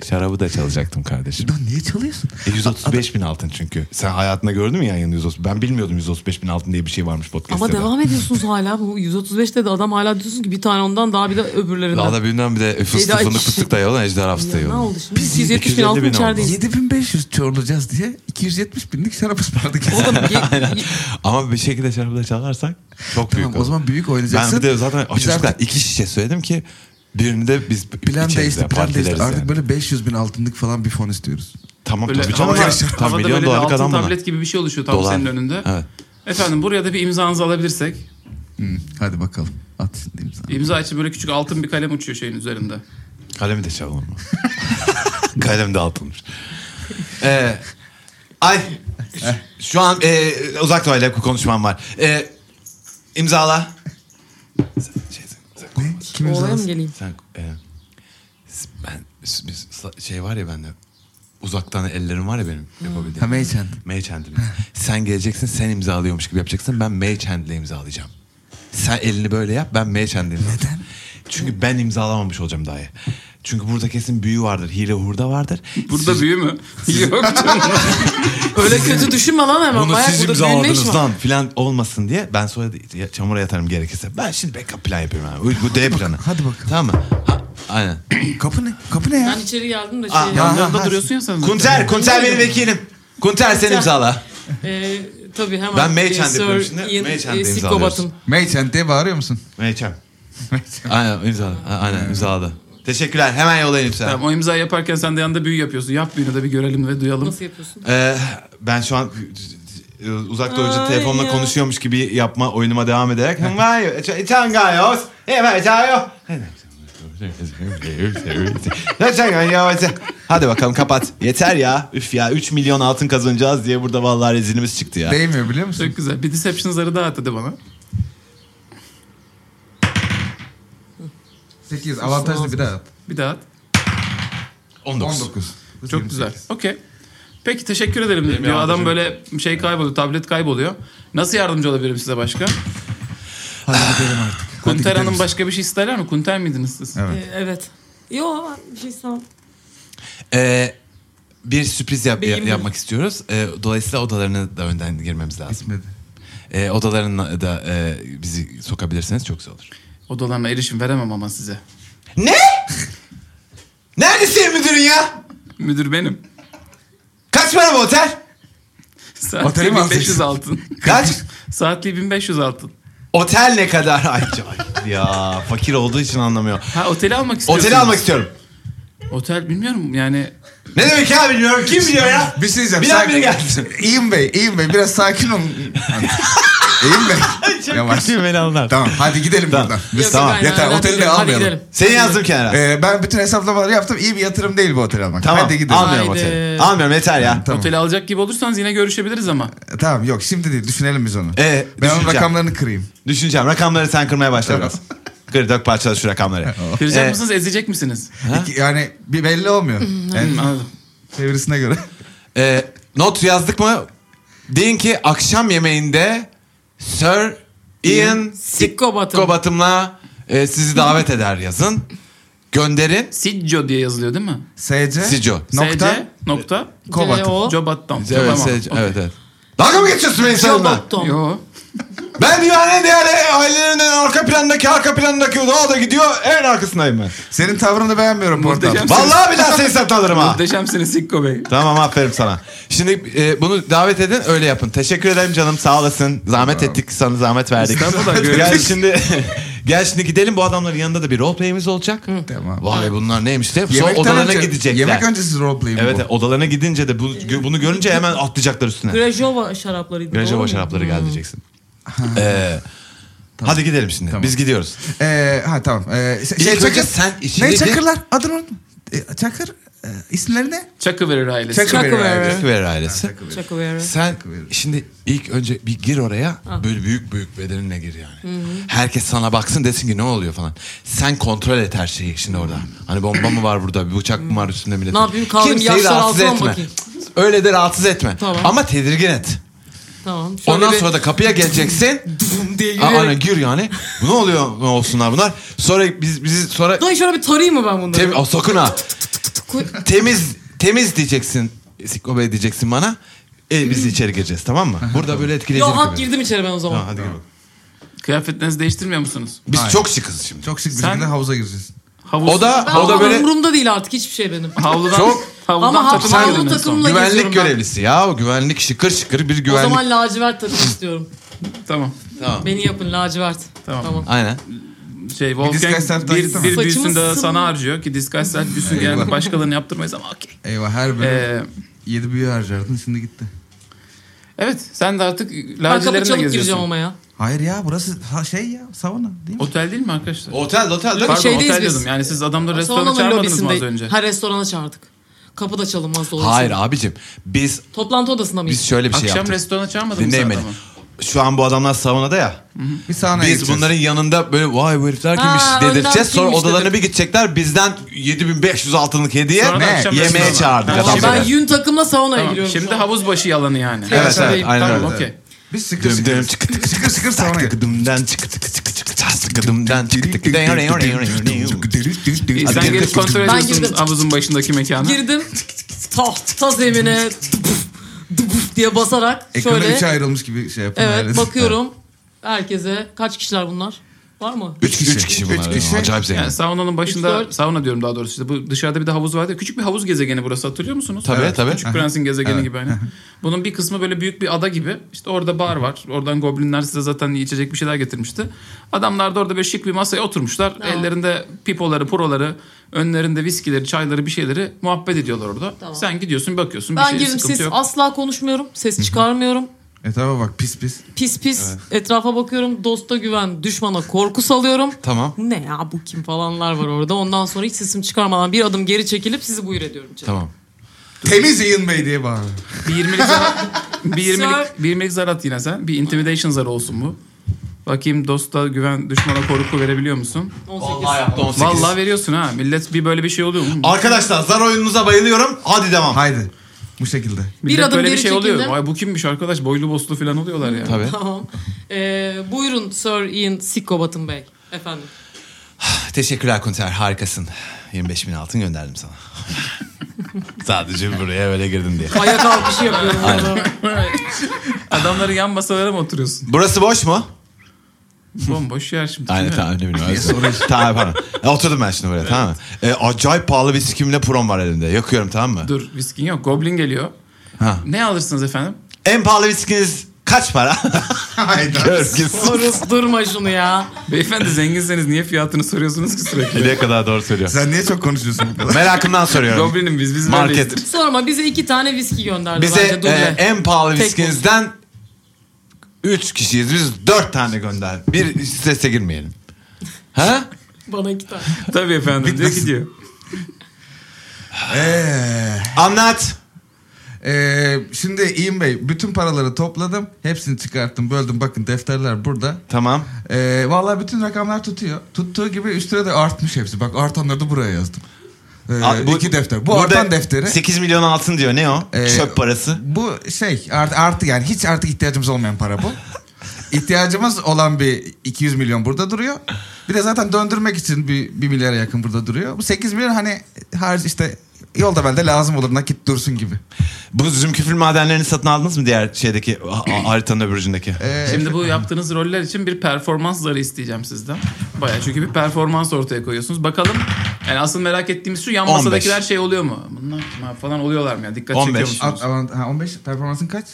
Şarabı da çalacaktım kardeşim. Lan niye çalıyorsun? E, 135 bin altın çünkü. Sen hayatında gördün mü yayın 135? Ben bilmiyordum 135 bin altın diye bir şey varmış podcast'te. Ama de. devam ediyorsunuz hala. Bu 135'te de adam hala diyorsunuz ki bir tane ondan daha bir de öbürlerinden. Daha da şey birinden bir de e, fıstık Eda- fındık fıstık da yalan ejderha fıstığı Ya ne yalan. oldu şimdi? Biz 170 bin 250 altın bin içerideyiz. 7500 çoğulacağız diye 270 binlik şarap ısmarladık. Oğlum ye- ye- Ama bir şekilde şarabı da çalarsak çok büyük tamam o olur. zaman büyük Ben oynayacaksın. bir de zaten Biz çocuklar artık- iki şişe söyledim ki birini de biz Plan içeriz değişti, yani, plan değişti. partileriz Artık yani. böyle 500 bin altınlık falan bir fon istiyoruz. Tamam Böyle tabii havada, canım. ya. Tam havada milyon böyle bir dolarlık altın adam buna. tablet gibi bir şey oluşuyor tam Dolar. senin önünde. Evet. Efendim buraya da bir imzanızı alabilirsek. Hı, hadi bakalım. At şimdi imza. İmza için böyle küçük altın bir kalem uçuyor şeyin üzerinde. Kalemi de çalalım mı? Kalem de altınmış. Ee, ay şu an e, uzak doğayla konuşmam var. E, imzala. Sen, şey, sen, sen, Ne? Kim Olaya mı imzalasın? geleyim? sen, e, s- ben s- biz- s- şey var ya bende uzaktan ellerim var ya benim yapabildiğim. Ha Meyçen. Mage handling. Sen geleceksin sen imzalıyormuş gibi yapacaksın. Ben mage handle imzalayacağım. Sen elini böyle yap ben mage handle imzalayacağım. Çünkü ben imzalamamış olacağım dahi. Çünkü burada kesin büyü vardır. Hile hurda vardır. Burada büyü mü? Yok canım. Öyle kötü düşünme lan hemen. bunu Bayağı siz burada büyüme işi imzaladınız var. lan filan olmasın diye ben sonra da ya- çamura yatarım gerekirse. Ben şimdi backup plan yapıyorum abi. Bu- Bu D planı. hadi bakalım. Tamam mı? Ha, aynen. Kapı ne? Kapı ne ya? Ben içeri geldim de Aa, şey. ya- Yanlarında ha. duruyorsun ya sen. zaten. Kunter, Kunter benim vekilim. Kunter sen Kunter. imzala. E, tabii hemen. Ben Mage e, Hand Sir yapıyorum şimdi. Ian, Mage e, Hand imzalıyoruz. Psikobat'ın. Meyçen diye bağırıyor musun? Meyçem. Aynen imzala. A- Aynen imzaladı. Teşekkürler. Hemen yollayın imzala. Tamam, o imza yaparken sen de yanında büyü yapıyorsun. Yap büyünü de bir görelim ve duyalım. Nasıl yapıyorsun? Ee, ben şu an e, uzak doğucu Ay telefonla ya. konuşuyormuş gibi yapma oyunuma devam ederek Hmm, e, Hıngayo, ç- Çangayo, evet, çayo. Çangayo, ç- Hadi bakalım kapat. Yeter ya. Üf ya 3 milyon altın kazanacağız diye burada vallahi rezilimiz çıktı ya. Değmiyor biliyor musun? Çok güzel. Bir deception zarı daha at hadi bana. 8 avantajlı bir daha at. Bir daha at. 19. 19. Çok güzel. Okey. Peki teşekkür ederim diyor. Adam böyle şey kayboluyor, tablet kayboluyor. Nasıl yardımcı olabilirim size başka? Hadi gidelim artık. Hadi Kunter gidelim. Hanım başka bir şey isterler mi? Kunter miydiniz siz? Evet. Ee, evet. Yo ben bir şey istemem. Ee, bir sürpriz yap- Beyin mi? yapmak istiyoruz. Ee, dolayısıyla odalarına da önden girmemiz lazım. Gitmedi. Ee, odalarına da e, bizi sokabilirseniz çok güzel olur. Odalarına erişim veremem ama size. Ne? Nerede senin müdürün ya? Müdür benim. Kaç para bu otel? Saatliği Oteli mi 1500 altın. Kaç? Saatliği 1500 altın. otel ne kadar? Ay, ay ya fakir olduğu için anlamıyor. Ha oteli almak istiyorsunuz. Oteli almak istiyorum. Otel bilmiyorum yani. Ne demek ya bilmiyorum. Kim biliyor ya? Bir şey diyeceğim. Bir an sakin- biri geldi. İyiyim bey, iyiyim bey. Biraz sakin olun. iyiyim bey. Yavaş. Kötü beni anlar. Tamam hadi gidelim buradan. Biz- Yok, tamam, yok, aynen, yeter, aynen, oteli de gidelim, hadi almayalım. gidelim. Seni yazdım kenara. Ee, ben bütün hesaplamaları yaptım. İyi bir yatırım değil bu otel almak. tamam. Hadi gidelim. Almıyorum Haydi. oteli. Almıyorum yeter ya. Tamam. E, Oteli alacak gibi olursanız yine görüşebiliriz ama. Tamam yok şimdi değil. Düşünelim biz E, onu. Ee, ben onun düşüneceğim. rakamlarını kırayım. Düşüneceğim. Rakamları sen kırmaya başla biraz. Kır dök parçala şu rakamları. Kıracak Ee, mısınız, ezecek misiniz? İki- yani bir belli olmuyor. yani Hmm, anladım. çevirisine göre. e, not yazdık mı? Deyin ki akşam yemeğinde Sir Ian Sikkobat'ım. Sikobat'ımla e, sizi davet eder yazın. Gönderin. Sicco diye yazılıyor değil mi? SC. Sico. Nokta. SC, nokta. Kobat'ım. CO. Cobat'tan. Evet, Tamam. evet, evet, evet. Dalga mı geçiyorsun benim seninle? Cobat'ım. Yo. Ben dünyanın diğer ailelerinin en arka plandaki arka plandaki daha da gidiyor en arkasındayım ben. Senin tavrını beğenmiyorum portal. Muhteşem. Vallahi bir daha seni hesapta alırım ha. Muhteşemsiniz Sikko Bey. Tamam aferin sana. Şimdi e, bunu davet edin öyle yapın. Teşekkür ederim canım sağ olasın. Zahmet ettik sana zahmet verdik. İstanbul'da gel görüşürüz. şimdi gel şimdi gidelim bu adamların yanında da bir role play'imiz olacak. Tamam. Vay bunlar neymiş de sonra Yemekten odalarına önce- gidecekler. Yemek öncesi roleplay'im Evet bu. odalarına gidince de bu, bunu görünce hemen atlayacaklar üstüne. Grejova şaraplarıydı. doğru Grejova mu? şarapları geldi diyeceksin. Ee, Hadi gidelim şimdi. Biz gidiyoruz. Ee, ha tamam. Ee, şey, İlk önce sen içine Ne gir. Çakırlar? Adını unuttum. Ee, Çakır. E, isimleri ne? Çakı verir ailesi. Çakı Çakıveri. verir abi. Çakıveri ailesi. Çakıveri. Sen şimdi ilk önce bir gir oraya. Böyle büyük büyük bedeninle gir yani. Herkes sana baksın desin ki ne oluyor falan. Sen kontrol et her şeyi şimdi orada. Hani bomba mı var burada? Bir bıçak mı var üstünde millet? Ne yapayım, kaldım yaşlar altına mı bakayım? Öyle de rahatsız etme. Tamam. Ama tedirgin et. Tamam. Şöyle Ondan bir- sonra da kapıya geleceksin. diye Aa, yürüyerek- Aynen gir yani. Bu ne oluyor? Ne olsunlar bunlar? Sonra biz bizi sonra Dayı şöyle bir tarayayım mı ben bunları? Tem Aa, sakın ha. Koy- Temiz temiz diyeceksin. Sikko Bey diyeceksin bana. E, biz içeri gireceğiz tamam mı? Burada böyle etkileyecek. Yo hak girdim içeri ben o zaman. Tamam, hadi gir. Kıyafetlerinizi değiştirmiyor musunuz? Biz Hayır. çok şıkız şimdi. Çok şık bir Sen- şekilde havuza gireceğiz. Havuz. O da- Ben O ama böyle- umurumda değil artık hiçbir şey benim. Havludan, Çok- havludan Ama ha- takıma havlu girdin en son. takımla- Güvenlik geziyorum ben. görevlisi ya. O güvenlik şıkır şıkır bir O güvenlik. zaman lacivert takım istiyorum. Tamam. Tamam. Beni yapın lacivert. Tamam. Aynen. Şey disguise Wolfgang self'ten bir, gittin bir, mi? büyüsünü de Saçımızsın. sana harcıyor ki disguise self büyüsü gelen başkalarını yaptırmayız ama okey. Eyvah her bölüm Ee, yedi büyü harcardın şimdi gitti. evet sen de artık Ben kapı lacilerine çalıp gireceğim geziyorsun. ama ya. Hayır ya burası ha, şey ya sauna değil mi? Otel değil mi arkadaşlar? Otel otel değil mi? Pardon şeydeyiz otel biz. dedim yani siz adamları restorana Salonun çağırmadınız mı az lobisinde. önce? Her restorana çağırdık. Kapı da çalınmaz dolayısıyla. Hayır abicim. Biz Toplantı odasında mıyız? biz şöyle bir şey Akşam yaptık. restorana çağırmadınız mı Dinleyin beni. adamı? Şu an bu adamlar savunada ya. Bir sauna Biz gideceğiz. bunların yanında böyle vay bu herifler kimmiş Ha, önden dedirteceğiz. Sonra kimmiş odalarına dedik. bir gidecekler. Bizden 7500 altınlık hediye Sonra da Ne? akşam yemeğe restorana. çağırdık Tamam, Tamam, adamları. ben yün takımla saunaya Tamam, giriyorum. Şimdi şu an. havuz başı yalanı yani. Evet, Şey evet, değil, aynen tamam, öyle. okey. Biz şıkır Dım dım şıkır. çıkı tıkı Şıkır şıkır sauna gir. tıkı dımdan çıkı tıkı tıkı tıkı tas tıkı dımdan çıkı tıkı dıyan dıyan dıyan dıyan. İyi, Hadi sen gel, gelip gel, kontrol Ben ediyorsun girdim. havuzun başındaki mekanı. Girdim. Taht, taz evine dupuf, dupuf diye basarak Ee, Ekrana şöyle. üçe ayrılmış gibi şey yapın. Evet herhalde. bakıyorum. Herkese. Kaç kişiler bunlar? Var mı? Üç kişi. Üç kişi Üç bunlar. kişi. Acayip zengin. Yani saunanın başında, Üç, dört. sauna diyorum daha doğrusu işte bu dışarıda bir de havuz vardı. ya, Küçük bir havuz gezegeni burası hatırlıyor musunuz? Tabii, tabii. Küçük Aha. prensin gezegeni gibi hani. Bunun bir kısmı böyle büyük bir ada gibi. İşte orada bar var. Oradan goblinler size zaten içecek bir şeyler getirmişti. Adamlar da orada böyle şık bir masaya oturmuşlar. Ellerinde pipoları, puroları, önlerinde viskileri, çayları bir şeyleri muhabbet ediyorlar orada. Tamam. Sen gidiyorsun bakıyorsun bir Ben şey girdim sıkıntı ses yok. asla konuşmuyorum. Ses çıkarmıyorum. E tamam bak pis pis. Pis pis etrafa bakıyorum. Dosta güven, düşmana korku salıyorum. Tamam. Ne ya bu kim falanlar var orada. Ondan sonra hiç sesim çıkarmadan bir adım geri çekilip sizi buyur ediyorum. canım. Tamam. Temiz Ian Bey diye bağırıyor. Bir 20'lik zar, bir 20'lik, Sir. bir 20'lik zar at yine sen. Bir intimidation zarı olsun bu. Bakayım dosta güven düşmana korku verebiliyor musun? 18. Vallahi yaptı 18. Vallahi veriyorsun ha. Millet bir böyle bir şey oluyor mu? Arkadaşlar zar oyununuza bayılıyorum. Hadi devam. Haydi. Bu şekilde. Bir Millet adım böyle bir geri şey oluyor. çekildim. Ay bu kimmiş arkadaş? Boylu boslu falan oluyorlar ya. Tabii. Tamam. Ee, buyurun Sir Ian Sikobat'ın bey. Efendim. Teşekkürler Kunter harikasın. 25 bin altın gönderdim sana. Sadece buraya öyle girdim diye. Ayağa kalkışı yapıyorum. Adamların yan masalara mı oturuyorsun? Burası boş mu? Bomboş yer şimdi. Aynen tamam ne bileyim. öyle sorayım. tamam pardon. E, oturdum ben şimdi buraya tamam mı? E, acayip pahalı bir sikimle prom var elimde. Yakıyorum tamam mı? Dur viskin yok. Goblin geliyor. Ha. Ne alırsınız efendim? En pahalı bir sikiniz kaç para? Hayda. Gör ki sus. Horus durma şunu ya. Beyefendi zenginseniz niye fiyatını soruyorsunuz ki sürekli? Nereye kadar doğru söylüyor. Sen niye çok konuşuyorsun bu kadar? Merakımdan soruyorum. Goblinim biz biz Market. böyleyizdir. Sorma bize iki tane viski gönderdi Bize bence. Dur e, be. en pahalı Tek viskinizden 3 kişiyiz. Biz 4 tane gönder. Bir strese girmeyelim. Ha? Bana iki tane. Tabii efendim. Diyor ki diyor. Eee. Anlat. Eee, şimdi İyim Bey bütün paraları topladım. Hepsini çıkarttım böldüm. Bakın defterler burada. Tamam. Eee vallahi bütün rakamlar tutuyor. Tuttuğu gibi üstüne de artmış hepsi. Bak artanları da buraya yazdım. Eee, Aa, bu- E, iki defter. Bu burada artan defteri. 8 milyon altın diyor. Ne o? Ee, Çöp parası. Bu şey artı, artı yani hiç artık ihtiyacımız olmayan para bu. İhtiyacımız olan bir 200 milyon burada duruyor. Bir de zaten döndürmek için bir, bir milyara yakın burada duruyor. Bu 8 milyon hani harç işte yolda bende lazım olur nakit dursun gibi. Bu zümküfül madenlerini satın aldınız mı diğer şeydeki ha- ha- haritanın öbür ucundaki? Ee, Şimdi bu yaptığınız roller için bir performans zarı isteyeceğim sizden. Bayağı çünkü bir performans ortaya koyuyorsunuz. Bakalım yani asıl merak ettiğimiz şu yan 15. masadakiler şey oluyor mu? Bunlar kim abi falan oluyorlar mı? Yani dikkat 15. çekiyor At, musunuz? avant, ha, 15 performansın kaç?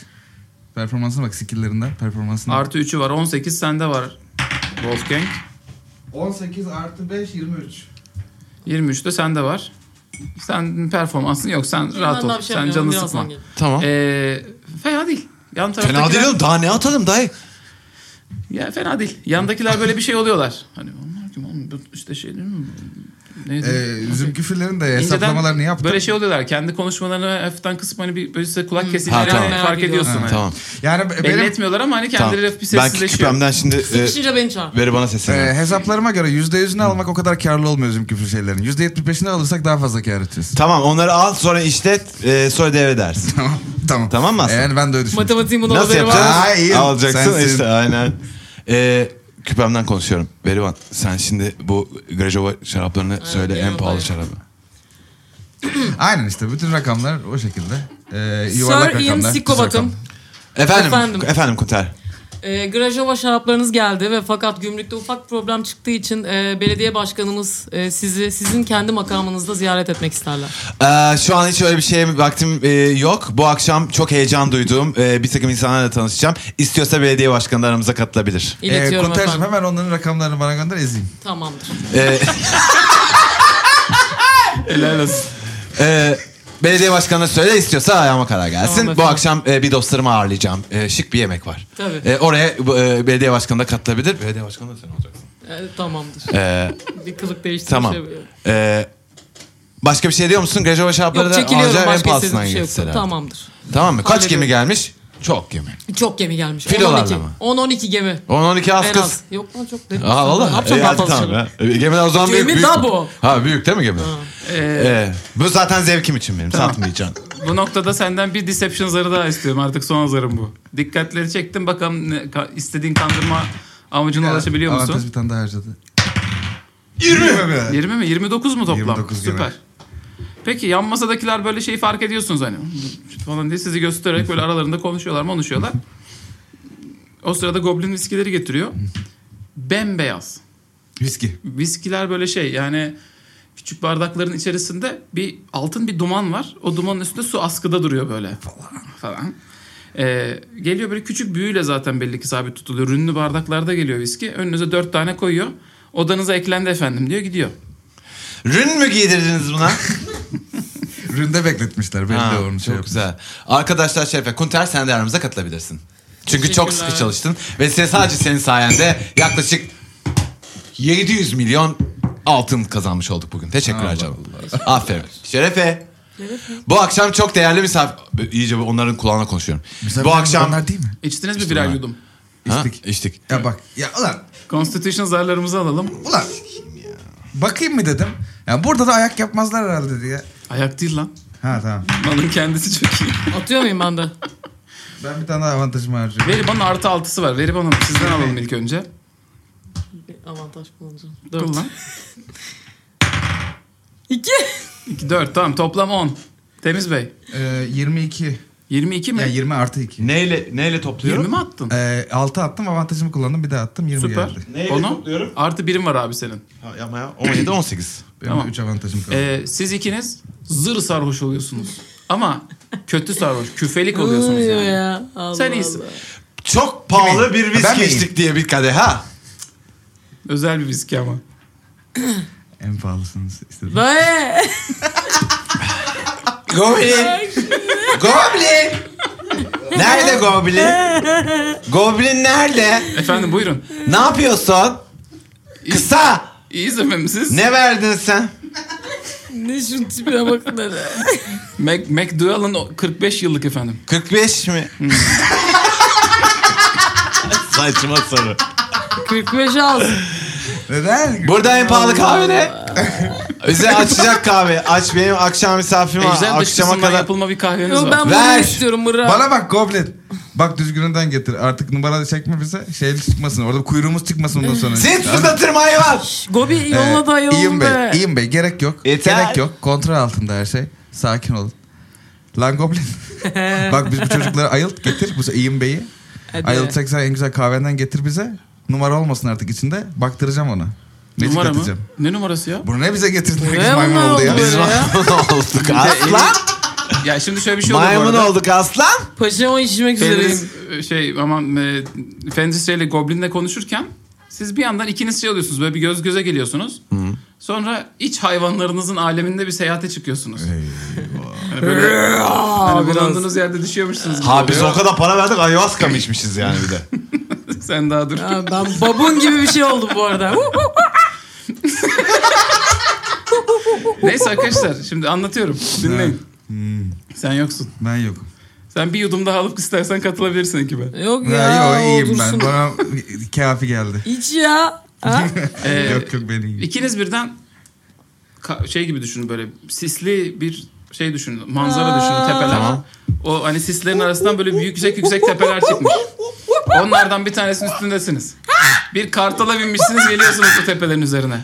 Performansına bak skill'lerinden performansına. Artı 3'ü var. 18 sende var Wolfgang. 18 artı 5 23. 23 de sende var. Sen performansın yok. Sen Ben rahat ol. daha bir şey Sen canını yapmıyorum, birazdan sıkma. gelirim. tamam. Ee, fena değil. Yan taraftakiler... Fena değil oğlum. Daha ne atalım dayı? Ya fena değil. Yandakilar böyle bir şey oluyorlar. Hani onlar kim oğlum? Bu işte şey değil mi? Neydi? Ee, Zümküfürlerin de İnceden hesaplamalarını yaptım. Böyle şey oluyorlar. Kendi konuşmalarını hafiften kısmı hani bir böyle size kulak Ha, kesildiğini tamam. hani Merak fark ediyorum. ediyorsun. Ha, hani. Tamam. Yani b- Belli benim etmiyor etmiyorlar ama hani tamam. kendileri hafif bir Ben şey sessizleşiyor. küpemden şimdi e, Sıkışınca beni çağır. veri bana e, sesleniyor. hesaplarıma göre %100'ünü almak o kadar karlı olmuyor zümküfür şeylerin. %75'ini alırsak daha fazla kar edeceğiz. Tamam onları al sonra işlet e, sonra devre dersin. Tamam. E, tamam. Tamam mı aslında? Yani ben de öyle düşünüyorum. Matematiğin bunu Nasıl haberi var. mı? yapacağız? Aa, iyi. Alacaksın Sensin. işte aynen. E, küpemden konuşuyorum. Verivan sen şimdi bu Grajova şaraplarını söyle en Grajova pahalı ya. şarabı. Aynen işte bütün rakamlar o şekilde. Ee, yuvarlak Sir Ian rakamlar. düz rakamlar. Sikobat'ım. Efendim, efendim, Efendim. Kunter. E, Grajova şaraplarınız geldi ve fakat gümrükte ufak problem çıktığı için e, belediye başkanımız e, sizi sizin kendi makamınızda ziyaret etmek isterler. Ee, şu an hiç öyle bir şeye vaktim e, yok. Bu akşam çok heyecan duyduğum e, bir takım insanlarla tanışacağım. İstiyorsa belediye başkanı da aramıza katılabilir. Ee, İletiyorum Kunter'cim efendim. hemen onların rakamlarını bana gönder ezeyim. Tamamdır. Ee, Helal olsun. e, belediye başkanına söyle istiyorsa ayağıma kadar gelsin. Tamam efendim. Bu akşam e, bir dostlarımı ağırlayacağım. E, şık bir yemek var. Tabii. E, oraya e, belediye başkanı da katılabilir. Belediye başkanı da sen olacaksın. E, tamamdır. Ee, Bir kılık değiştirmiş. tamam. Şey. E, başka bir şey diyor musun? Grejova şarapları Yok da çekiliyorum alacağım. En başka istediğim pahalısından bir şey yok. getirseler. Tamamdır. Tamam mı? Kaç Hallediyorum. gemi gelmiş? Çok gemi. Çok gemi gelmiş. Filolarla 10-12. mı? 10-12 gemi. 10-12 az En kız. az. Yok lan çok dedi. Aa valla. Yapacak E, daha hadi fazla tamam şey. ya. E, Gemiler o zaman Gemi büyük. büyük daha mü? bu. Ha büyük değil mi gemi? Ee, Ee, bu zaten zevkim için benim. Satmayacağım. bu noktada senden bir deception zarı daha istiyorum. Artık son zarım bu. Dikkatleri çektim. Bakalım ne- ka- istediğin kandırma amacına ulaşabiliyor Avantaj musun? bir tane daha harcadı. 20 mi? 20 mi? 29 mu toplam? 29 gibi. Süper. Peki yan masadakiler böyle şeyi fark ediyorsunuz hani falan diye sizi göstererek böyle aralarında konuşuyorlar konuşuyorlar. O sırada Goblin viskileri getiriyor. Bembeyaz. Viski. Viskiler böyle şey yani küçük bardakların içerisinde bir altın bir duman var. O dumanın üstünde su askıda duruyor böyle falan falan. Ee, geliyor böyle küçük büyüyle zaten belli ki sabit tutuluyor. Rünlü bardaklarda geliyor viski. Önünüze dört tane koyuyor. Odanıza eklendi efendim diyor gidiyor. Rün mü giydirdiniz buna? Ründe bekletmişler belli Ha, ha, onu şey çok yapmış. güzel. Arkadaşlar Şerefe Kunter sen de aramıza katılabilirsin. Çünkü çok Teşekkürler. sıkı çalıştın. Ve size sadece senin sayende yaklaşık 700 milyon altın kazanmış olduk bugün. Teşekkürler canım. Aferin. Şerefe. Bu akşam çok değerli misafir... İyice onların kulağına konuşuyorum. Bu akşam... Onlar değil mi? İçtiniz mi birer ben. yudum? İçtik. Ha, içtik. Ya bak ya ulan Constitution zarlarımızı alalım. ulan. Bakayım mı dedim. Ya burada da ayak yapmazlar herhalde diye. Ayak değil lan. Ha tamam. Malın kendisi çok iyi. Atıyor muyum ben de? Ben bir tane daha avantajımı harcıyorum. Veriban'ın artı altısı var. Veriban'ın sizden alalım ilk önce. Bir avantaj kullanacağım. Dört. Kullan. İki. 2, 4 tamam toplam 10. Temiz Bey. Ee, 22. 22 mi? Ya 20 artı 2. Neyle, neyle topluyorum? 20 mi attın? Ee, 6 attım avantajımı kullandım bir daha attım 20 Süper. geldi. Neyle Onu topluyorum? artı birim var abi senin. Ha, yapma ya. 17, 18. Benim Tamam. 3 avantajım kaldı. Ee, siz ikiniz zır sarhoş oluyorsunuz. Ama kötü sarhoş, küfelik oluyorsunuz Uyuyor yani. ya. Allah Sen iyisin. Allah. Çok pahalı Kimin? bir Ben viski miyim? içtik diye bir kadeh ha. Özel bir viski ama. En pahalısını istedim. Be. Goblin. Goblin. Nerede Goblin? Goblin nerede? Efendim buyurun. Ne yapıyorsun? Kısa. İyi mi siz? Ne verdin sen? ne şu tipine bakın hele. Mac, McDowell'ın o 45 yıllık efendim. 45 mi? Saçma soru. 45 alsın. Neden? Burada en pahalı kahve ne? Bize açacak kahve. Aç benim akşam misafirim var. Ejder Akşama dışkısından kadar. yapılma bir kahveniz Yok var. ben Ver. bunu istiyorum Mıra. Bana bak goblin. Bak düzgününden getir. Artık numara çekme bize. Şey çıkmasın. Orada kuyruğumuz çıkmasın bundan sonra. Seni fırlatırım hayvan. Gobi yolla da yolla iyiyim be. be. İyiyim be. Gerek yok. Yeter. Gerek yok. Kontrol altında her şey. Sakin olun. Lan goblin. bak biz bu çocukları ayılt getir. Bu iyiyim beyi. Hadi. Ayıltacaksan en güzel kahvenden getir bize. Numara olmasın artık içinde. Baktıracağım ona. Magic Numara mı? atacağım. Ne numarası ya? Bunu ne bize getirdin? Ne Biz maymun bunlar oldu ya. oldu böyle ya? olduk aslan. Ya şimdi şöyle bir şey oluyor bu Maymun arada. olduk aslan. Paşa o içmek üzereyiz. Fenris, şey aman e, Fenris ile Goblin'le konuşurken siz bir yandan ikiniz şey oluyorsunuz böyle bir göz göze geliyorsunuz. Sonra iç hayvanlarınızın aleminde bir seyahate çıkıyorsunuz. Hani böyle hani bulunduğunuz yerde düşüyormuşsunuz. gibi Ha biz oluyor. o kadar para verdik ayahuasca mı içmişiz yani bir de. Sen daha dur. Ha, ben babun gibi bir şey oldu bu arada. Neyse arkadaşlar şimdi anlatıyorum. Dinleyin. Sen yoksun. Ben yokum. Sen bir yudum daha alıp istersen katılabilirsin ekibe. Yok Ya, ya. yo, iyiyim ben. oldursun. Bana kafi geldi. İç ya. Ha? Ee, yok yok ben iyiyim. İkiniz birden ka- şey gibi düşünün böyle sisli bir şey düşünün. Manzara düşünün tepeler. Tamam. O hani sislerin arasından böyle büyük yüksek yüksek tepeler çıkmış. Onlardan bir tanesinin üstündesiniz. Bir kartala binmişsiniz geliyorsunuz bu tepelerin üzerine.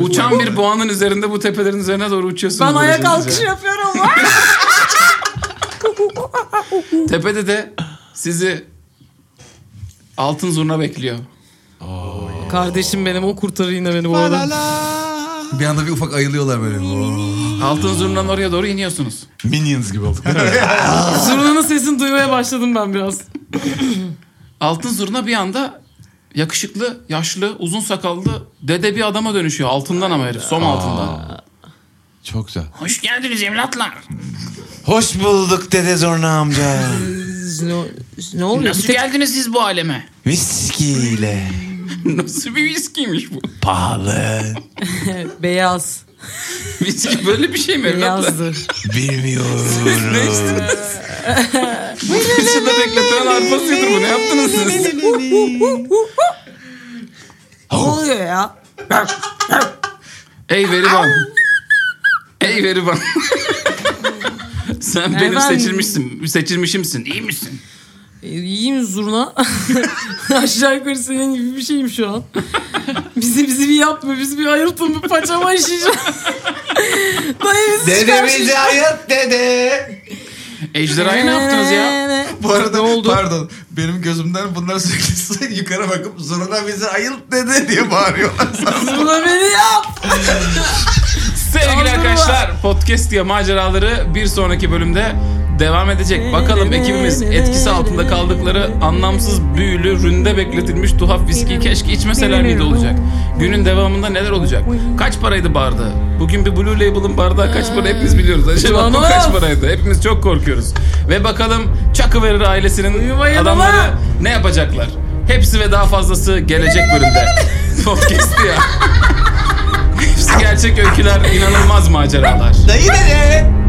Uçan bir boğanın üzerinde bu tepelerin üzerine doğru uçuyorsunuz. şey Ben ayak Böylece alkış güzel. yapıyorum. Tepede de sizi altın zurna bekliyor. Kardeşim benim o kurtarır yine beni bu arada. Bir anda bir ufak ayılıyorlar böyle. Altın zurnadan oraya doğru iniyorsunuz. Minions gibi olduk değil mi? Zurnanın sesini duymaya başladım ben biraz. Altın zurna bir anda yakışıklı, yaşlı, uzun sakallı dede bir adama dönüşüyor. Altından ama herif. Som altından. Çok güzel. Hoş geldiniz evlatlar. Hoş bulduk dede Zorna amca. Ne, ne oluyor? Bir Nasıl tek- geldiniz siz bu aleme? Viskiyle. Nasıl bir viskiymiş bu? Pahalı. beyaz. Viski böyle bir şey mi evlatlar? Beyazdır. Ne Bilmiyorum. içtiniz? Bu dışında bekletilen arpasıydır bu. Ne yaptınız siz? ne oluyor ya? Ey veriban. Ey veriban. Sen benim Efendim? seçilmişsin. Seçilmişimsin. İyi misin? E, İyiyim zurna. Aşağı yukarı senin gibi bir şeyim şu an. bizi bizi bir yapma. Bizi bir ayıltın. Bir paçama işeceğim. Dayı bizi Dede çıkar. bizi ayırt dede. Ejderhaya ne yaptınız ya? Bu arada pardon benim gözümden bunlar sürekli yukarı bakıp zoruna bizi ayılt dedi diye bağırıyorlar. Zurna beni yap. Sevgili Tanrım arkadaşlar podcast diye maceraları bir sonraki bölümde devam edecek. Bakalım ekibimiz etkisi altında kaldıkları anlamsız büyülü ründe bekletilmiş tuhaf viskiyi keşke içmeseler miydi olacak? Günün devamında neler olacak? Kaç paraydı bardağı? Bugün bir Blue Label'ın bardağı kaç para hepimiz biliyoruz. Acaba bu Canım. kaç paraydı? Hepimiz çok korkuyoruz. Ve bakalım Chuckyverer ailesinin Uyumayın adamları ama. ne yapacaklar? Hepsi ve daha fazlası gelecek bölümde. Podcast ya. Hepsi gerçek öyküler, inanılmaz maceralar. Dayı dede.